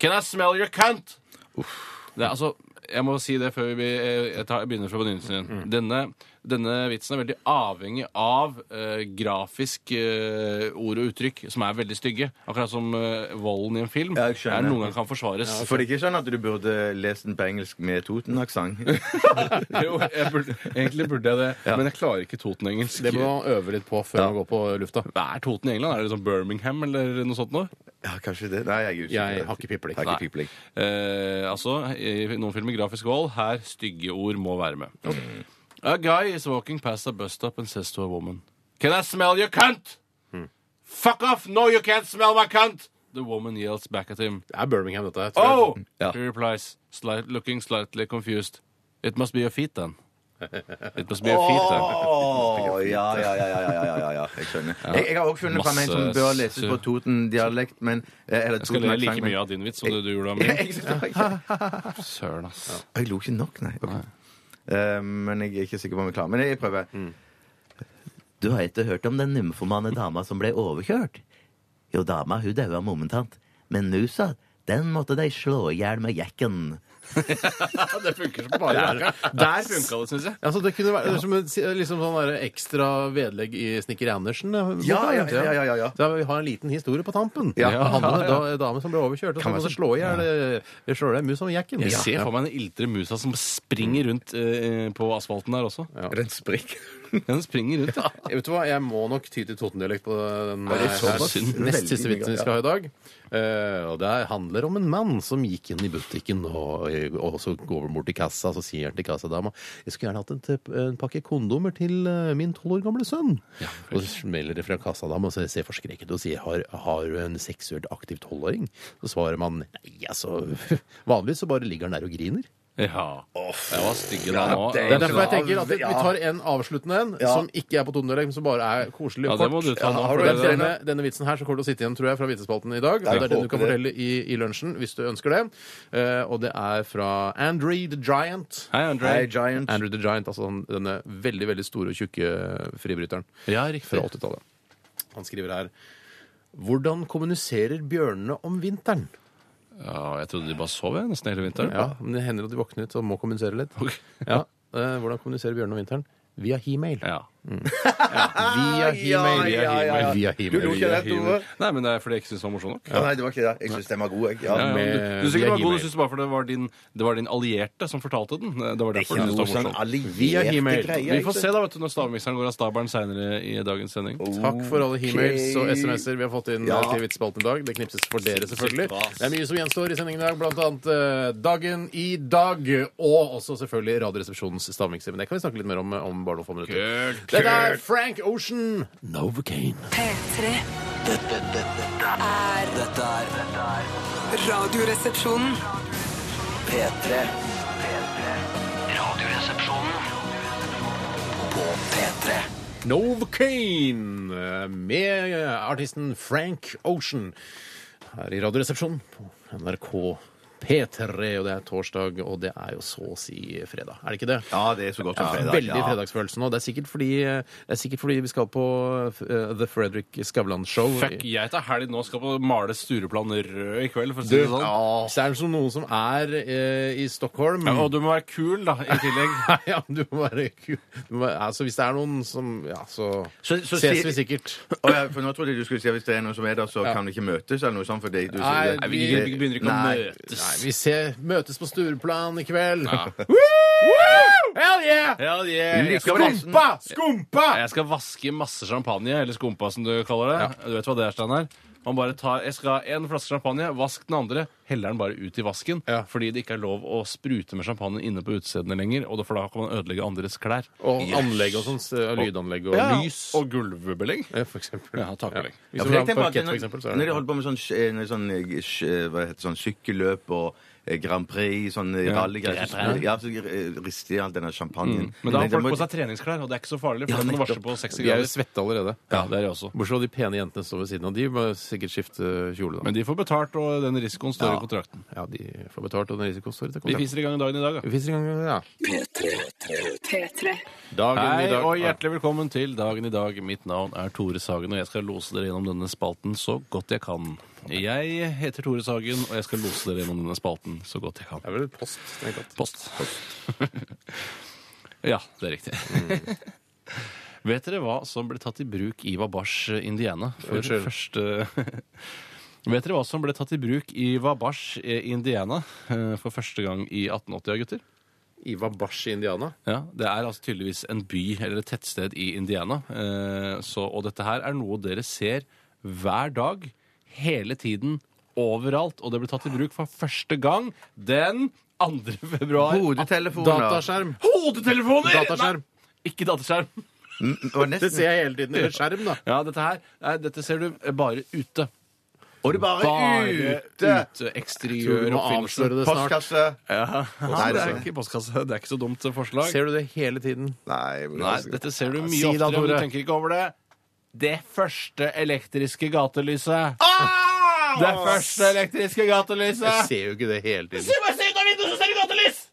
Can I smell your cunt? Det er altså jeg må si det før vi eh, jeg tar, jeg begynner fra begynnelsen igjen.
Mm.
Denne, denne vitsen er veldig avhengig av eh, grafisk eh, ord og uttrykk som er veldig stygge. Akkurat som eh, volden i en film
Ja, jeg skjønner.
er noen ganger kan forsvares.
For det er ikke sånn at du burde lest den på engelsk med Toten-aksent?
jo, jeg burde, egentlig burde jeg det, men jeg klarer ikke Toten-engelsk.
Det må man øve litt på før man går på lufta.
Hva er Toten i England? Er det liksom Birmingham eller noe sånt noe?
Ja, kanskje det. Nei, jeg er usikker.
Jeg har ikke pipling.
Jeg har ikke
Nei.
pipling.
Eh, altså, i noen filmer grafisk vold. Her stygge ord må være med. A guy is walking past a bus stop and says to a woman Can I smell your cunt? Fuck off! No, you can't smell my cunt! The woman yells back at him.
Det er Birmingham, dette. her, tror jeg.
Oh!
Ja.
He replies, slight, looking slightly confused. It must be your feet then. It must be your feet then.
Åh, ja, ja, ja, ja, ja, ja, ja, ja. Jeg skjønner. Jeg, jeg har også funnet fram en som bør leses på Toten-dialekt, men eh, eller
Jeg skal le
Toten-aksent,
like
men-
mye av din vits som det du gjorde av
Ja,
min.
jeg synes det var ikke-
Søren, ass.
Jeg lo ikke nok, nei. Ok. Eh, men jeg er ikke sikker på om jeg klarer Men jeg prøver. Du har ikke hørt om den nymfomane dama som ble overkjørt? Jo, dama hun daua momentant, men musa den måtte de slå i hjel med jekken.
Ja, det funker som bare
Der-
Der funka det, syns jeg.
Altså, det kunne være det er som en, liksom sånn der ekstra vedlegg i Snekker Andersen. eh,
Ja, ja,
boka,
ja, ja, ja, ja.
Så vi har en liten historie på tampen.
Ja.
Det handler om en da- en dame som ble overkjørt, og så
Kan være
måtte slå i hjel eh, slå i hjel mus om jekken.
Jeg ser
Ja.
for meg den iltre musa som springer rundt eh, på asfalten der også.
Den sprikk.
Den springer rundt, ja.
Jeg Vet du hva, Jeg må nok ty til Toten-dialekt på den
det er
eh,
såpass?
her.
Veldig
nest siste
mye,
vitsen vi
ja.
skal ha i dag. Eh, og Det handler om en mann som gikk inn i butikken, og, og så går han bort til kassa, så sier han til kassadama Jeg skulle gjerne hatt en, tep- en pakke kondomer til eh, min tolv år gamle sønn. og så smeller det fra kassadama, og så ser forskrekket og sier har, har du en seksuelt aktiv tolvåring? Så svarer man nei, altså Vanligvis så bare ligger han der og griner.
Ja. Jeg var stygge da
Ja,
nå.
det
Det
er
er derfor jeg tenker at vi
Ja.
vi tar en avsluttende en,
Ja.
som ikke er på tonedelg, men som bare er koselig
Ja,
og
det må
kort.
du ta nå.
Ja, har
for
du
det-
en
Men Denne, denne vitsen her så kommer du til å sitte igjen tror jeg, fra Vitsespalten i dag. Og det er den du kan
håper
fortelle i, i lunsjen hvis du ønsker det. Eh, og det er fra Andre the Giant.
Hei, André.
Hey, Giant.
Andrew the Giant, altså den- denne veldig veldig store og tjukke fribryteren
Ja,
fra
riktig.
80-tallet. Han skriver her Hvordan kommuniserer bjørnene om vinteren?
Ja, jeg trodde de bare sov jeg, nesten hele vinteren.
Ja, men Det hender at de våkner ut og må kommunisere litt.
Ok.
Ja, eh, Hvordan kommuniserer bjørnene om vinteren? Via he-mail.
Ja.
Via
Ja,
Himmel.
ja, ja, ja.
Via
Du lo
Himmel.
ikke av det, Tore?
Nei, men det er fordi jeg ikke syns den var morsom nok.
Å, Nei, det var ikke det. Jeg syns den var god, jeg.
Ja, ja,
Ja.
men du, du synes
via
ikke den var god,
Gmail.
du synes bare for det var, din, det var din allierte som fortalte den. Det var derfor
Ikke
du
noe
syntes den
sånn
var morsom.
Via
allierte
Himmel.
greier.
Vi får se da, vet du, når stavmikseren går av stabelen seinere i dagens sending.
Takk for alle e-mails og
Ok.
SMS-er vi har fått inn
Ja.
eh, til vitsespalten i dag. Det knipses for dere, selvfølgelig.
Shit, ass.
Det er mye som gjenstår i sendingen i dag, blant annet eh, Dagen i dag, og også selvfølgelig Radioresepsjonens stavmikser. Men det kan vi snakke litt mer om eh, om bare noen få minutter. Dette er Frank Ocean, Novocaine.
P3
Dette, dette, dette er Dette er dette er
Radioresepsjonen.
P3. P3. Radioresepsjonen på P3.
Novocaine eh, med artisten Frank Ocean her i Radioresepsjonen på NRK P3. Og det er torsdag, og det er jo så å si fredag. Er det ikke det?
Ja, det er så godt som
Ja,
fredag.
veldig
ja.
fredagsfølelse nå. Det er sikkert fordi, eh, det er sikkert fordi vi skal på eh, The Fredrik Skavlan-show.
Fuck, jeg tar helg nå, skal på male Stureplan rød i kveld, for
Du,
å si det sånn.
hvis det er som noen som er eh, i Stockholm
Ja, og du må være kul, da, i tillegg.
Ja, du må være kul. Du må, altså, hvis det er noen som Ja, så,
Så- så
ses
sier-
vi sikkert.
Å, ja, for nå trodde jeg du skulle si at hvis det er noen som er der, så kan vi ikke møtes, eller noe sånt. For det, du,
Nei,
sier det.
Nei, vi begynner ikke å
Nei.
møtes.
Nei, vi ser, møtes på Stureplan i kveld.
Ja.
Woo! Hell yeah!
Hell yeah! Jeg skal,
Likevel.
vaske,
Skumpa! Skumpa!
jeg skal vaske masse champagne, eller skumpa som du kaller det. Du vet hva det er, Steinar? Man bare tar, jeg skal ha en flaske champagne, vask den andre, heller den bare ut i vasken.
Ja.
Fordi det ikke er lov å sprute med champagne inne på utestedene lenger, og da- for da kan man ødelegge andres klær.
Og anlegg og sånn. så- Lydanlegg og lys.
Og gulvbelegg.
eh, For eksempel.
Ja, takbelegg.
Hvis
Ja,
du
for
er
jeg
på
tenker bare at
parkett, for eksempel, så
Når
er
når de
det
holder på med sånn, sj- når sånn, eh, sj- hva heter det, sånn sykkelløp og eh, Grand Prix, sånn eh, rallygreier så- Ja, så eh, rister de all denne champagnen.
Mm. Men da har
Men det
folk
må-
på seg treningsklær, og det er ikke så farlig, for
Ja,
da må du varsle
nettopp.
på 60
Vi er jo
grader.
svette allerede.
Ja, det er jeg også.
Bortsett fra de pene jentene som står ved siden av. De må sikkert skifte kjole. da.
Men de får betalt, og den risikoen står i kontrakten.
Ja, de får betalt, og den risikoen står i
Vi
kontrakten.
fiser i gang i dagen i dag, da.
Vi fiser i gang, ja.
P3.
Dagen i
Hei
dag.
og hjertelig velkommen til Dagen i dag. Mitt navn er Tore Sagen, og jeg skal lose dere gjennom denne spalten så godt jeg kan. Jeg heter Tore Sagen, og jeg skal lose dere gjennom denne spalten så godt
Det
jeg kan.
er vel post. tenk at.
Post. ja, det er riktig. Vet dere hva som ble tatt i bruk i Wabash, Indiana? For
Unnskyld.
første... Vet dere hva som ble tatt i bruk i Wabash, Indiana eh, for første gang i 1880, gutter?
Iva Bash i Indiana.
Ja, Det er altså tydeligvis en by eller et tettsted i Indiana. Eh, så, og dette her er noe dere ser hver dag, hele tiden, overalt. Og det ble tatt i bruk for første gang den 2. februar.
Hodetelefoner.
Dataskjerm!
Hodetelefoner!
Dataskjerm.
Nei, ikke dataskjerm.
Mm, Og
Det
nesten
ser jeg hele tiden. Eller skjerm, da.
Ja, dette her, nei, dette ser du bare ute.
Og det bare
Bare
ute!
ute.
Tror du
Eksteriør
må
oppfinnelse.
avsløre det snart.
Postkasse.
Ja.
Nei,
det
det
er
ser jeg.
ikke postkasse. Det er ikke så dumt forslag.
Ser du det hele tiden?
Nei,
Nei, dette ser du mye
Si da,
oftere, men du
Tore.
tenker ikke over det. Det første elektriske gatelyset. Det første elektriske
Jeg
gatelyset!
ser jo ikke det hele tiden.
bare se ut av vinduet, så ser du gatelys!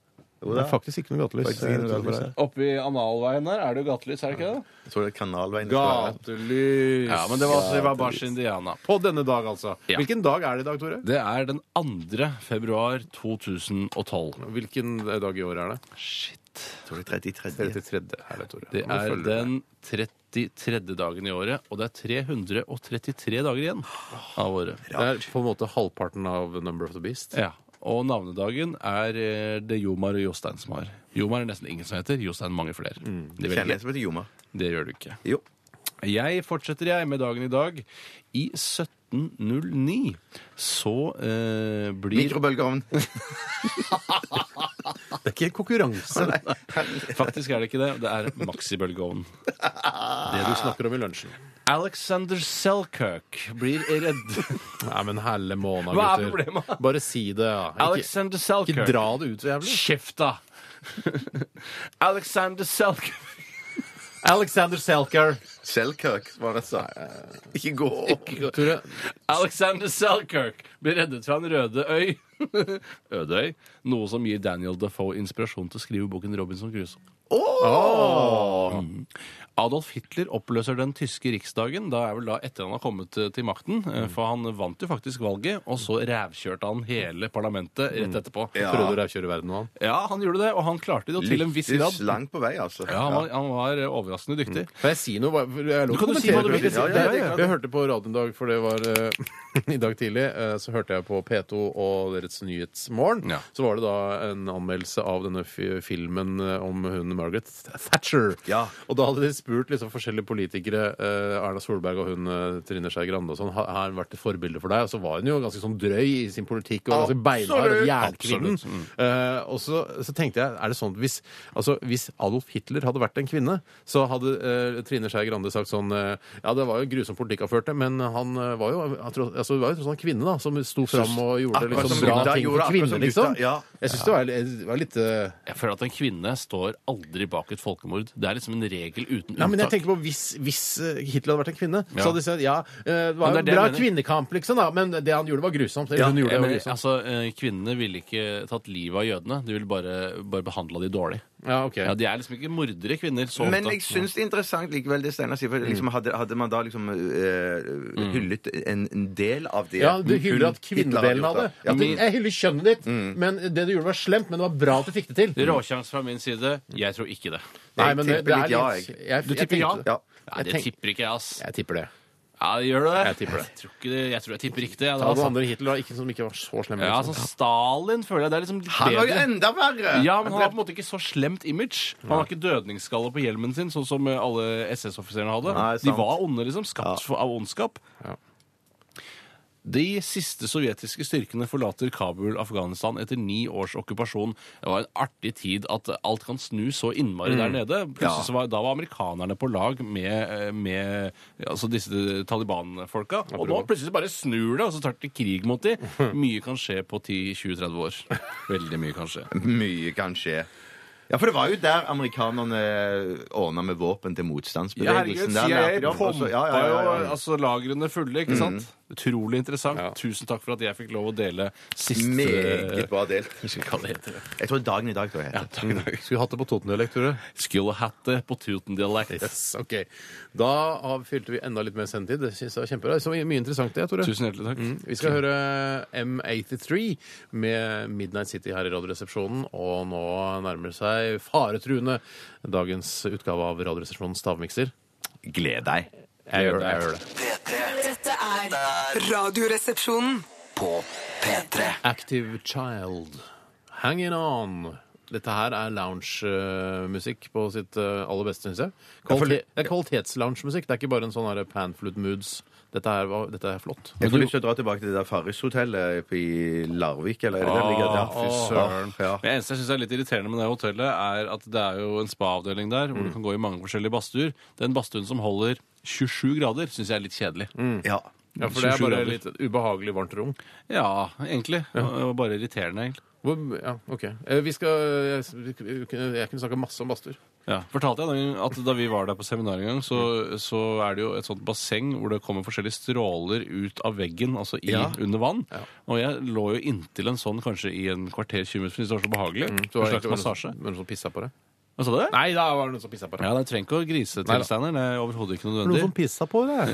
Det er faktisk ikke noe gatelys. Jeg
Oppe i analveien her er det jo gatelys, er det ikke det?
Jeg tror det er kanalveien.
Gatelys.
Ja, men det var også i Wabash, Indiana.
På denne dag, altså.
Ja.
Hvilken dag er det i dag, Tore?
Det er den 2. februar 2012.
Hvilken eh, dag i året er det?
Shit.
Jeg tror det er 33.
33. er det, Tore. Nå
Det
må du
er
følge med.
den 33. dagen i året, og det er 333 dager igjen av året.
Det er på en måte halvparten av Number of the Beast.
Ja, og navnedagen er eh, det Jomar og Jostein som har. Jomar er nesten ingen som heter, Jostein mange flere.
Mm,
Det,
Kjenner
vet
jeg
jeg.
som heter Joma.
det gjør du ikke.
Jo.
Jeg fortsetter jeg med dagen i dag. I 1709 så eh, blir
Mikrobølgeovn.
Det er ikke en konkurranse.
Faktisk er det ikke det. Det er maxibølgeovn.
Det du snakker om i lunsjen.
Alexander Selkirk blir redd...
Nei, men helle måned, gutter.
Hva er problemet?
Bare si det. ja. Ikke,
Alexander Selkirk.
ikke dra det ut så jævlig.
Kjeft, da! Alexander Selkirk.
Alexander Selker.
Selkirk, var det jeg sa. Ikke gå opp.
Tore,
Alexander Selkirk blir reddet fra en røde øy. Ødøy. Noe som gir Daniel Defoe inspirasjon til å skrive boken Robinson Crusoe. Åh! Adolf Hitler oppløser den tyske riksdagen. Da er vel da etter han har kommet eh, til makten.
Mm.
eh, For han vant jo faktisk valget, og så rævkjørte han hele parlamentet
Mm.
rett etterpå.
Trodde du rævkjører verden nå, han?
Ja, han gjorde det, og han klarte det jo til en viss grad.
Lyktes langt på vei, altså.
Ja, han var, han var eh, overraskende dyktig.
Kan jeg si noe? Hva- for Jeg,
Du kan jo si hva du vil.
Ja,
Ja, ja, ja.
Jeg hørte på radioen i dag, for det var eh, i dag tidlig, eh, så hørte jeg på P2 og deres Nyhetsmorgen.
Ja.
Så var det da en anmeldelse av denne fi- filmen eh, om hun Margaret Thatcher.
Ja.
Og da hadde de spurt liksom, forskjellige politikere, eh, Erna Solberg og hun eh, Trine Skei Grande og sånn, har har hun vært et forbilde for deg? Og så var hun jo ganske sånn drøy i sin politikk og ganske beinhard og jernkvinnen. Eh, og så, så tenkte jeg, er det sånn at hvis, altså, hvis Adolf Hitler hadde vært en kvinne, så hadde eh, Trine Skei Grande sagt sånn eh, Ja, det var jo grusom politikk han førte, men han eh, var jo altså, det var jo tross alt en kvinne da, som sto fram og gjorde
Akkurat
liksom,
som
bra
gutta
ting
gjorde,
for
akkurat
kvinner,
som
liksom.
gutta, ja.
Jeg syns det var, det var litt eh,
Jeg føler at en kvinne står aldri bak et folkemord. Det er liksom en regel uten
Ja, men jeg
unntak.
tenker på Hvis, hvis eh, Hitler hadde vært en kvinne,
Ja.
så hadde de sagt ja, eh, det
Men
var
det er
en
det jeg
bra
mener.
kvinnekamp, liksom, da, men det han gjorde, var grusomt. Eller hun gjorde det,
Jeg
var
mener,
grusomt.
altså, eh, Kvinnene ville ikke tatt livet av jødene. De ville bare, bare behandla de dårlig.
Ja, ok.
Ja, De er liksom ikke mordere, kvinner. Så
Men
ofte.
jeg syns det er interessant likevel det Steinar sier. For liksom hadde, hadde man da liksom eh, hyllet en, en del av det
Ja, du hyller
Hitler
at
hadde
kvinnedelen
gjort,
av det.
da.
At du, jeg hyller kjønnet ditt, men det du gjorde, var slemt, men det var bra at du fikk det til.
Råkjangs fra min side. Jeg tror ikke det.
Nei, men det,
tipper
det
litt
er
ja,
litt
jeg.
jeg-
Du
jeg
tipper ja?
tenkte-
Ja.
Nei, det
Jeg tenk-
tipper ikke jeg, ass.
Jeg tipper det.
Ja, gjør du det?
Jeg tipper det.
Jeg tror, ikke det. jeg tror jeg tipper riktig. Jeg,
Ta
da,
noen
altså.
andre Hitler da, ikke, som ikke var så slemme.
Ja, altså
liksom.
Stalin føler jeg det er liksom litt
Han var jo
bedre.
enda verre!
Ja, men han har på en måte ikke så slemt image. Han har ikke dødningsskalle på hjelmen sin, sånn som eh, alle SS-offiserene hadde.
Nei, sant.
De var onde, liksom. Skapt for- av ondskap.
Ja.
De siste sovjetiske styrkene forlater Kabul, Afghanistan, etter ni års okkupasjon. Det var en artig tid at alt kan snu så innmari der nede. Plutselig så var, Da var amerikanerne på lag med, eh, med altså disse Taliban-folka. Og nå plutselig bare snur det, og så tar de krig mot de. Mye kan skje på 10-20-30 år. Veldig mye kan skje.
Mye kan skje. Ja, for det var jo der amerikanerne ordna med våpen til motstandsbevegelsen. Der lærte de om, og så- ja, ja, ja, ja, ja.
altså lagrene fulle, ikke sant? Utrolig interessant. Tusen takk for at jeg fikk lov å dele siste
Meget bra delt.
Jeg skal ikke hva det heter.
Jeg tror didagen i dag tror jeg heter.
Skulle hatt det på Toten-dialekt, tror du?
Skillhatte eh, på Tutendialekt.
Yes, ok. Da har- fylte vi enda litt mer sendetid. Det synes jeg var kjempebra. Så mye interessant det, Tore.
Tusen hjertelig takk.
Mm. Vi skal høre M83 med Midnight City her i Radioresepsjonen. Og nå nærmer det seg faretruende dagens utgave av Radioresepsjonens stavmikser.
Gled deg.
Jeg gjør det. jeg gjør det.
P3
Dette er Radioresepsjonen.
på P3.
Active Child. Hanging On. Dette her er loungemusikk på sitt eh, aller beste, syns jeg. Kvalitet, det er kvalitetsloungemusikk. Det er ikke bare en sånn her panflute moods. Dette, her var, dette er flott.
Jeg får lyst til å dra tilbake til det der Farris-hotellet oppe i Larvik, eller er det der det ligger? Ja,
fy
søren. Ja.
Det eneste jeg synes er litt irriterende med det hotellet, er at det er jo en spa-avdeling der, hvor du kan gå i mange forskjellige badstuer. Den badstuen som holder 27 grader, syns jeg er litt kjedelig.
Mm. Ja.
Ja, for det er
27
bare
grader.
litt ubehagelig varmt rom.
Ja, egentlig. Og Bare irriterende, egentlig.
Hvor, ja, ok. Eh, Vi skal jeg, jeg kunne snakka masse om badstuer.
Ja, fortalte jeg den- at da vi var der på seminar en gang, så, så er det jo et sånt basseng hvor det kommer forskjellige stråler ut av veggen, altså i,
Ja.
under vann. Og jeg lå jo inntil en sånn kanskje i en kvarter 20 minutter, for det var så behagelig.
Så var
en
det
slags
egentlig bare
massasje.
noen som- Noen som pissa på deg?
Hva sa du?
Nei, da var det noen som pissa på deg.
Ja, det trenger ikke å grise
Nei da.
til, Steinar. Det er overhodet ikke nødvendig.
pissa på deg?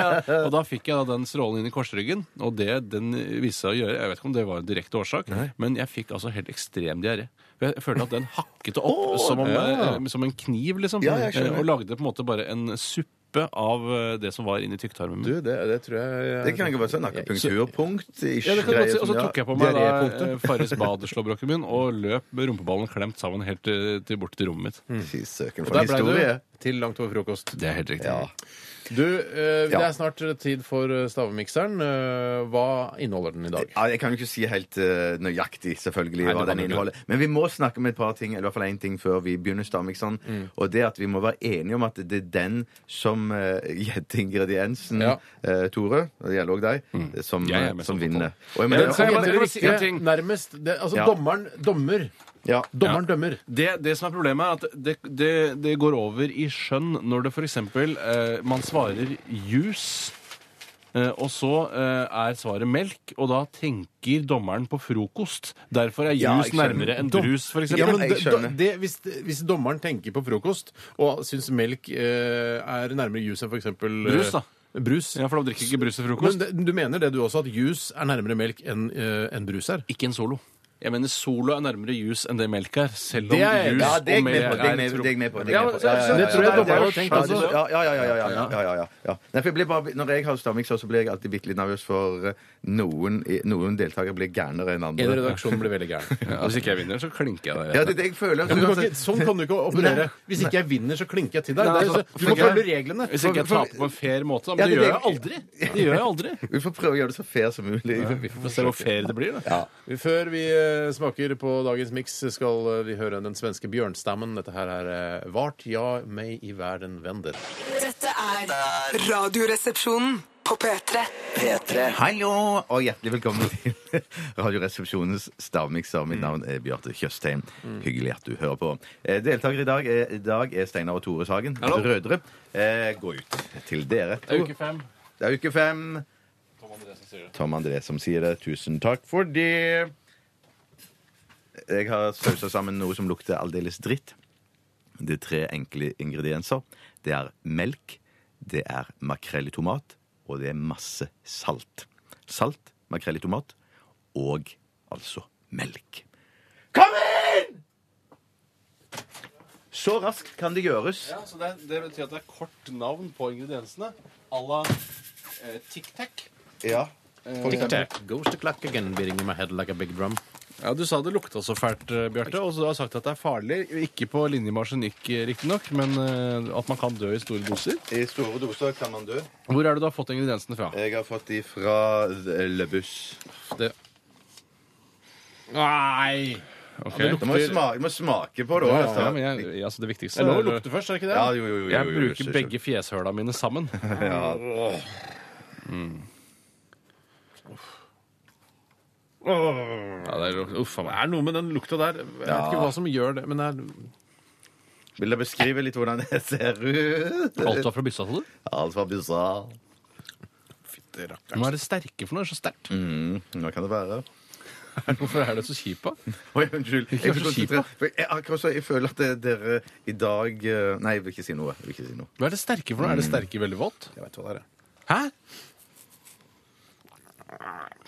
Og da fikk jeg da den strålen inn i korsryggen, og det den viste seg å gjøre Jeg vet ikke om det var en direkte årsak, men jeg fikk altså helt ekstrem diaré. For Jeg følte at den hakket opp som, om,
ja.
eh, som en kniv, liksom.
Ja, jeg skjønner.
Eh, og lagde på en måte bare en suppe av eh, det som var inni tykktarmen min.
Du, det, det tror jeg
Det kan ikke være sånn akupunkturpunkt.
Ja, det kan du godt si. Og så tok jeg på meg da eh, Farris badeslåbroken min og løp med rumpeballen klemt sammen helt eh, til bort til rommet mitt.
Fy søken,
Og
for
der
en
ble
historie.
du til langt over frokost.
Det er helt riktig.
Ja.
Du, eh, det
Ja.
er snart tid for eh, stavemikseren. Eh, Hva inneholder den i dag?
Ja, jeg kan jo ikke si helt eh, nøyaktig selvfølgelig
Nei, det
hva
kan
den
du ikke.
inneholder. Men vi må snakke om et par ting, eller i hvert fall én ting, før vi begynner Stamikson.
Mm.
Og det at vi må være enige om at det er den som eh, gjetter ingrediensen,
Ja.
eh, Tore, og det gjelder òg deg, som,
Jeg er
eh,
mest
som
opptatt.
vinner. Og jeg
Mm. Men
mener,
så er jeg
ja,
bare-
Gjetter
kan si en
riktig
ting?
nærmest det, Altså,
Ja.
dommeren dommer.
ja.
Dommeren dømmer.
Det, det som er problemet, er at det, det, det går over i skjønn når det f.eks. Eh, man svarer jus Eh, Og så eh, er svaret melk, og da tenker dommeren på frokost. Derfor er
Ja,
jus
jeg skjønner.
nærmere enn
Dom-
brus, f.eks.
Ja,
Ja,
men
jeg
det,
skjønner.
det, hvis, hvis dommeren tenker på frokost og syns melk eh, er nærmere jus enn f.eks.
Brus, da.
Brus.
for da drikker ikke brus til
Men
frokost.
det, du mener det du også, at jus er nærmere melk enn eh, enn brus er?
Ikke en solo. Jeg mener Solo er nærmere jus enn det melk er. Selv om
Det er jeg enig i.
jus
Ja, det er jeg
og
med
melk
på. Det er jeg med på,
er
det er jeg med på. det er jeg med på.
Ja, så- så-
det tror jeg
Ja, ja,
dommeren
ja,
har tenkt
ja,
også.
Ja, ja, ja, ja, ja, ja, ja, ja, ja, ja. Nei, for jeg blir bare, når jeg har stamming, så blir jeg alltid bitte litt nervøs for eh, noen, noen deltakere blir gærnere enn
En i
andre.
redaksjonen blir veldig gæren.
Ja, Hvis ikke jeg vinner, så klinker jeg deg.
Ja, det er det jeg føler.
Ja, men du kan ikke, sånn kan du ikke operere. Hvis ikke jeg vinner, så klinker jeg til deg.
Nei,
Det er jo
altså,
så- du må
for-
følge reglene.
Hvis ikke jeg
For- for-
taper på en fair måte, da.
Ja,
Men
det
det
er
gjør
det-
jeg aldri. Det gjør jeg aldri.
Vi får prøve å gjøre det så fair som mulig. Vi
Vi får se hvor fair det blir, da.
Før vi eh, smaker på dagens miks, skal eh, vi høre den svenske bjørnstammen. Dette her er eh, Vart ja meg i verden vender.
Dette er Radioresepsjonen på P3.
P3
Hallo, og hjertelig velkommen til Radioresepsjonens stavmikser. Mitt navn er Bjarte Tjøstheim. Hyggelig at du hører på. Eh, Deltakere i dag er, i dag er Steinar og Tore Sagen.
Hallo.
Brødre. Eh, Gå ut til dere.
Det er uke fem.
Det er uke fem. Tom André som sier det. Tusen takk for det. Jeg har sausa sammen noe som lukter aldeles dritt. Det er tre enkle ingredienser. Det er melk, det er makrell i tomat, og det er masse salt. Salt, makrell i tomat og altså melk. Kom inn! Så raskt kan det gjøres.
Ja, så det, det betyr at det er kort navn på ingrediensene. À la eh, Tic Tac. Eh,
Ja.
Goes the clock again, beating in my head like a big drum.
Ja, Du sa det lukta så fælt, eh, Bjarte. Og så har du sagt at det er farlig. Ikke på linje med arsenikk, eh, riktignok, men eh, at man kan dø i store doser.
I store doser kan man dø.
Hvor er det du har fått ingrediensene fra?
Jeg har fått de fra Le Bus.
Nei! Ok.
Du må, smake, du må smake på det òg.
Ja, men jeg, ja, så det
Det
viktigste
er lov å
er-
lukte først, er det ikke det?
Ja, jo, jo, jo, jo,
Jeg
jo,
bruker
jo,
begge fjeshøla mine sammen. Ja, det er, uff, faen, det er noe med den lukta der. Jeg vet
Ja.
ikke hva som gjør det, men det er
Vil dere beskrive litt hvordan det ser ut?
Alt var fra byssa til det.
Alt var bizarr.
Hva er det sterke for noe? Det er så sterkt.
Mm, hva kan det være?
Hvorfor er det så kjipt, da?
Oi, unnskyld. Jeg,
vær så
jeg,
kjip,
jeg, jeg, akkurat så, jeg føler at det- dere i dag eh, Nei, jeg vil ikke si noe. Jeg vil ikke si noe.
Hva er det sterke for noe? Er det sterke veldig vått?
Jeg vet hva det er.
Hæ?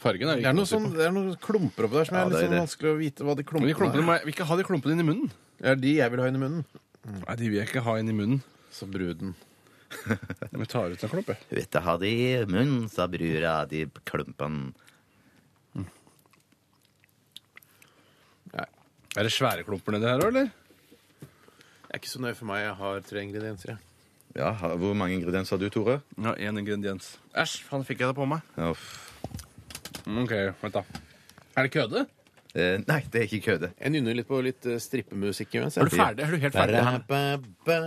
Fargen er jo
Det
ikke
er noen sånn, det er noen klumper oppi der som
Ja,
er
det
litt
er
sånn vanskelig å vite hva de
Men
klumpene,
de klumpene må jeg, vil ikke ha de klumpene inn i munnen.
er. Er de jeg vil ha inn i munnen.
Nei, de vil jeg ikke ha inn i munnen.
Så bruden.
Vi tar ut en klump, jeg.
Vet du hva de i munnen, sa brura, de klumpene.
Er det svære klumper nedi her òg, eller?
Det er ikke så nøye for meg. Jeg har tre ingredienser. jeg.
Ja, ha- Hvor mange ingredienser har du, Tore?
Ja, én ingrediens. Æsj, faen fikk jeg det på meg.
Uff.
Mm, OK, vent, da. Er det køde?
Eh, nei, det er ikke køde.
Jeg nynner litt på litt eh, strippemusikk imens.
Er du ferdig? Er du helt ferdig?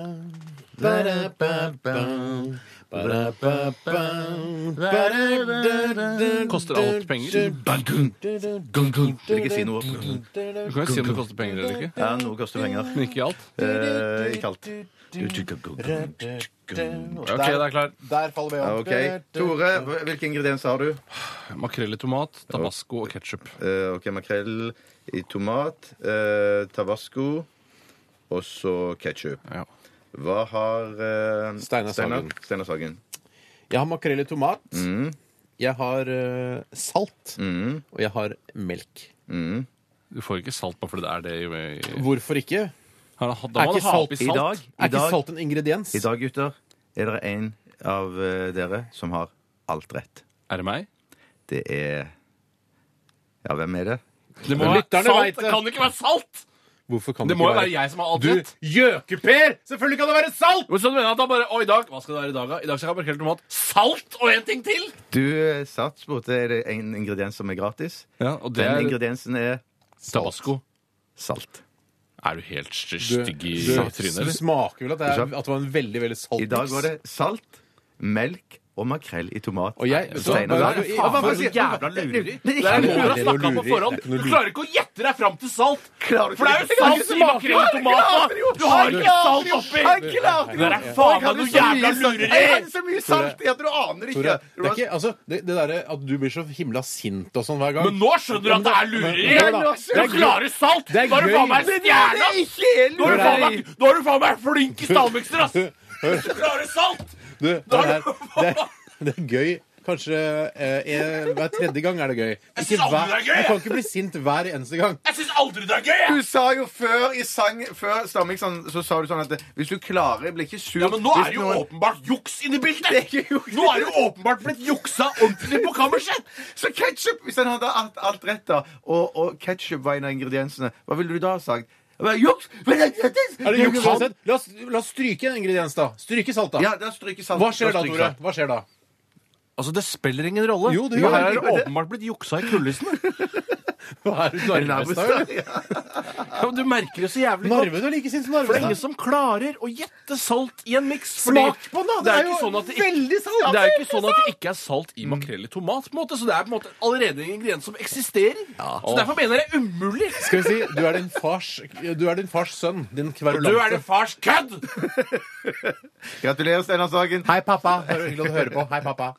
Koster alt penger?
Vil ikke si noe.
Du kan jo si om det koster penger eller ikke.
Ja, noe koster penger.
Men ikke alt.
Eh, ikke alt.
OK, det er klart.
Der faller vi
Ja,
av.
Ok. Tore, hva- hvilke ingredienser har du?
Makrell i tomat, tabasco og ketsjup.
Eh, ok, Makrell i tomat, eh, tabasco og så ketsjup.
Ja.
Hva har eh,
Steinar Sagen.
Steinar Sagen.
Jeg har makrell i tomat. Jeg har eh, salt. Og jeg har melk.
Du får ikke salt bare fordi det er det i
Hvorfor ikke?
Da må du ha
Er ikke salt
oppi
I dag, i
Er ikke
dag,
salt en ingrediens?
i dag, gutter, er det en av eh, dere som har alt rett.
Er det meg?
Det er Ja, hvem er det?
Det må
Men
være
lytterne
salt!
vet det.
Det kan ikke være salt!
Hvorfor kan
Det må jo være jeg som har alt rett.
Gjøkeper! Selvfølgelig kan det være salt!
Så du mener at da bare, å, i dag, Hva skal det være i dag, da? I dag skal jeg ha makrell i tomat, salt og en ting til!
Du eh, satt, spurte er det en ingrediens som er gratis.
Ja, og det
Den
er
ingrediensen er
tabasco.
salt.
Er du helt st-
Du,
stygg i
du,
trynet, eller?
smaker vel at det, er,
Ikke sant?
at det var en veldig veldig salt
I dag var det salt, melk og makrell i tomat.
Og jeg-
Steinar,
så-
du har-
Faen,
Ja, hva
for
sier-
en jævla lurer.
Det- det-
Det
det-
er noe du har
det-
snakka om på
det-
forhånd. Du klarer ikke å gjette deg fram til salt!
Klarer
For det er
ikke-
jo salt i makrell i tomat! da. Du har ikke salt
Jeg
oppi!
klarte
Det der er faen meg noe jævla
Jeg
lureri!
hadde så mye salt i at du aner ikke.
Tore, det er ikke altså, det, det derre at du blir så himla sint og sånn hver gang
Men nå skjønner du at det er
Men-
lureri!
Hør da,
Du klarer salt! Da
Det er
er du faen
gøy.
meg
Det
stjerna!
er ikke helt
Nå er du faen
lureri.
meg, nå er du faen meg flink i stavmikser, ass!
Hør.
Du klarer salt!
Du, det, er, det, er, det er gøy. Kanskje eh, en, hver tredje gang er det gøy. Ikke
savner
hver,
det er gøy,
du
jeg.
kan ikke bli sint hver eneste gang.
Jeg syns aldri det er gøy! jeg.
Du sa jo før i sang Før Stammik sånn, så sa du sånn at hvis du klarer, blir ikke sur
Ja, men nå
hvis
er det jo
noen-
åpenbart juks inne i bildet!
Det er ikke juks.
Nå er det jo åpenbart blitt juksa ordentlig på kammerset!
Så ketsjup! Hvis han hadde alt, alt rett, da, og, og ketsjup var en av ingrediensene, hva ville du da ha sagt? Jeg bare, Juks! Men det- det- det-
Er det
det-
juks
det-
uansett? La, oss- la oss stryke en ingrediens, da. Stryke salt, da.
Ja, da stryker salt.
Hva skjer da,
stryker
Tore?
salt.
Hva skjer da?
Altså, Det spiller ingen rolle.
Jo, det gjør
her er
det.
det åpenbart blitt juksa i kulissene.
Hva er du
En
narvest
nabostad,
av? eller?
ja.
Ja, men du merker det så jævlig godt.
Narve, du er like sint som
For det er ingen
Narvestad.
som klarer å gjette salt i en miks.
Smak på den, da! Det er
jo
jo
ikke sånn at det ikke-
veldig salt. Mm.
Det er jo ikke sånn at det ikke er salt i makrell i tomat, på en måte, så det er på en måte allerede en ingrediens som eksisterer. Så derfor mener jeg det er umulig.
Skal vi si du er din fars, du er din fars sønn. Din
Du er
kverulante.
det fars kødd!
Gratulerer, Steinar Sagen.
Hei, pappa. Det er Hyggelig at du hører på. Hei, pappa.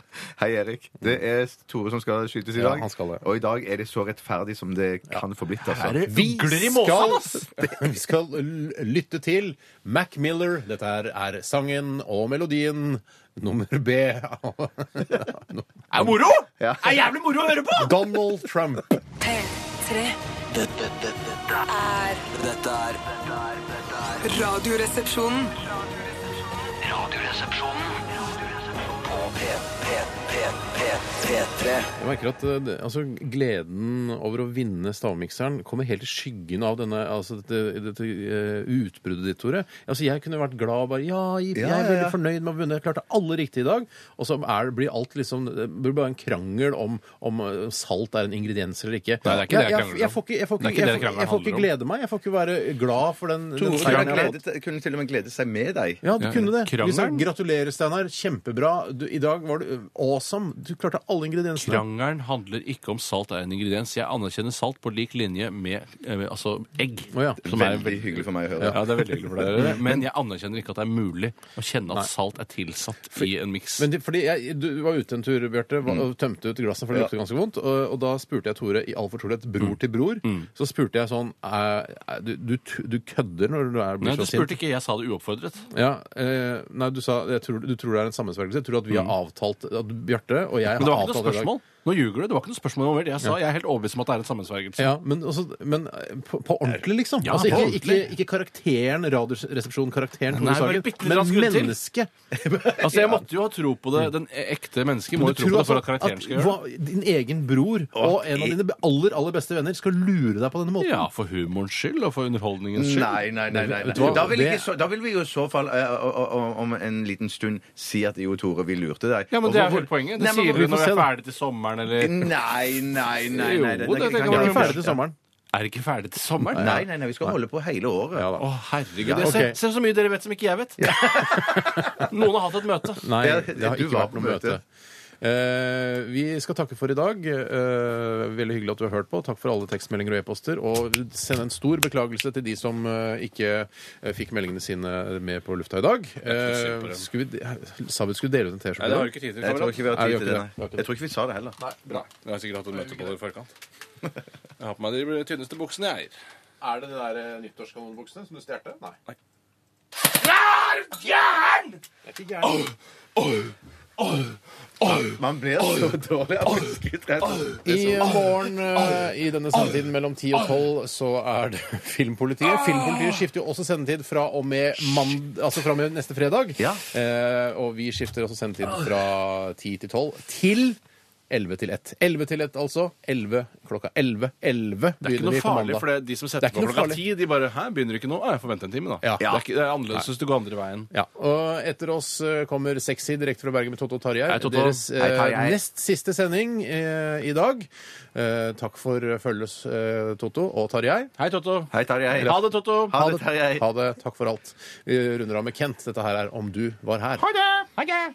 Hei, Erik. Det er Tore som skal skytes i
Mm. Ja,
dag.
han skal det.
Og i dag er det så rettferdig som det kan få blitt. Altså.
Vi
Ugler i
skal-
måsen, ass!
Vi skal l- lytte til Mac Miller. Dette her er sangen og melodien nummer B.
Er det moro? Er jævlig moro å høre på!
Donald Trump.
P3
Dette, dette, dette er Dette er
Radioresepsjonen
Radioresepsjonen På P, P, P, P, P3
Jeg merker at eh, det- altså, gleden over å vinne stavmikseren kommer helt i skyggen av denne, altså, dette, dette eh, utbruddet ditt, Tore. Altså, jeg kunne vært glad og bare Ja, jeg jeg er
ja, ja.
veldig fornøyd med å ha vunnet. Jeg klarte alle riktig i dag. Og så er, blir alt liksom Det blir bare en krangel om, om eh, salt er en ingrediens eller ikke.
Nei, det er ikke det
jeg,
jeg
jeg,
krangler
jeg får ikke, jeg får
om. Det
ikke,
er
jeg får,
ikke det krangelen
jeg får ikke
handler
glede meg. Jeg får ikke være glad for den, den
Tore
seieren
kunne,
jeg har fått.
glede, kunne til og med glede seg med deg.
Ja, du
Ja,
kunne det.
krangelen.
Vi sa gratulerer, Steinar. Kjempebra. Du, I dag var du awesome. Du klarte alle ingrediensene.
Krangelen handler ikke om salt er en ingrediens. Jeg anerkjenner salt på lik linje med eh, altså, egg.
Å ja. Mm.
Som er
Veldig hyggelig for meg å høre.
Ja, det er veldig hyggelig for deg. å gjøre det. Men jeg anerkjenner ikke at det er mulig å kjenne at salt er tilsatt i en miks.
Men det, fordi jeg, Du var ute en tur, Bjarte, var-
Mm.
og tømte ut glassene, for det lukter ganske vondt. Og, og da spurte jeg Tore i all fortrolighet, bror
Mm.
til bror, så spurte jeg sånn eh, eh, du, du, t- du kødder når du er, blir
Nei, du
så sint?
spurte ikke. Jeg sa det uoppfordret.
Ja, eh, nei, du sa jeg tror, Du tror det er en sammensvergelse? Jeg tror at vi har avtalt at Bjarte og jeg har
Mm. Men det var ikke
avtalt
noe
det i dag.
spørsmål. Nå ljuger du. Det var ikke noe spørsmål involvert. Jeg sa jeg er helt overbevist om at det er en sammensvergelse.
Ja, men, også, men eh, på, på ordentlig, liksom.
Ja,
altså,
på
ikke,
ordentlig.
Ikke, ikke karakteren Radioresepsjon-karakteren, Tore
Nei, bare
Sagen,
bitte litt
men
raskere til.
mennesket.
Altså, Jeg måtte jo ha tro på det. Den ekte mennesket må
Mm. Men
jo
du
tro på
tror
det for at
altså
karakteren skal
at
gjøre det.
hva- Din egen bror og en av dine aller, aller beste venner skal lure deg på denne måten.
Ja, for humorens skyld og for underholdningens skyld.
Nei, nei, nei. nei,
Vet du
nei.
hva?
Da, vil
Det-
ikke, så, da vil vi jo i så fall eh, o- o- o- om en liten stund si at jo, Tore, vi lurte deg.
Ja, men
Og
Det er jo
hvorfor-
hele poenget.
Nei,
Det
men
sier
hvorfor-
du når vi
se
er
det?
ferdig til sommeren, eller
Nei, nei, nei. nei,
Jo, det
den er ikke- kan-
tenker jeg
Vi
ja,
er ferdig til sommeren.
Er det ikke ferdig til sommeren?
Nei, nei, nei, vi skal holde på hele året.
Ja, da.
Å, herregud.
Ja,
det-
ok.
Se, se så mye dere vet som ikke jeg vet. Noen har hatt et møte.
Nei,
Ja,
det har
du
ikke
var
vært
på
noe møte.
møte.
Eh, vi skal takke for i dag. Eh, veldig hyggelig at du har hørt på. Takk for alle tekstmeldinger og e-poster. Og send en stor beklagelse til de som eh, ikke eh, fikk meldingene sine med på lufta i dag.
synd på
Eh,
dem.
skulle vi, sa vi skulle dele ut en T-skjorte? i dag?
ikke tid til.
Jeg tror ikke vi har tid
Nei, vi har
til det.
ikke det. Vi har
nei.
ikke det.
Jeg tror ikke vi sa det heller.
Nei, bra. Jeg har sikkert hatt et møte på det i forkant. Jeg har på meg de tynneste buksene jeg eier.
Er det de der eh, nyttårskanonbuksene som du stjal? Nei.
Er du gæren?!
Man blir så dårlig av menneskerett.
I morgen eh, i denne sendetiden mellom 10 og 12 så er det Filmpolitiet. Filmpolitiet skifter jo også sendetid fra og med, mand altså fra og med neste fredag.
Ja.
Eh, og vi skifter også sendetid fra 10 til 12 til 11 til 1. 11 til 1, altså. 11 klokka 11. 11
Det er ikke
begynner vi
noe
på
farlig,
mandag.
for det er de som setter
Det er ikke
på
noe
klokka
farlig.
ti, de bare Hæ, begynner ikke nå? Ja, jeg får vente en time, da.
Ja.
Det, er ikke, det er annerledes hvis du går andre veien.
Ja, og Etter oss eh, kommer Sexy direkte fra Bergen med Totto og Tarjei.
Hei, Totto.
Deres eh,
Hei, Tarjei.
nest siste sending eh, i dag. Eh, takk for eh, følges, eh, Totto og Tarjei.
Hei, Totto.
Hei, Tarjei.
Ha det, Totto.
Ha det, Tarjei.
Ha det. Takk for alt. Vi runder av med Kent. Dette her er Om du var her.
Ha det! Ha det!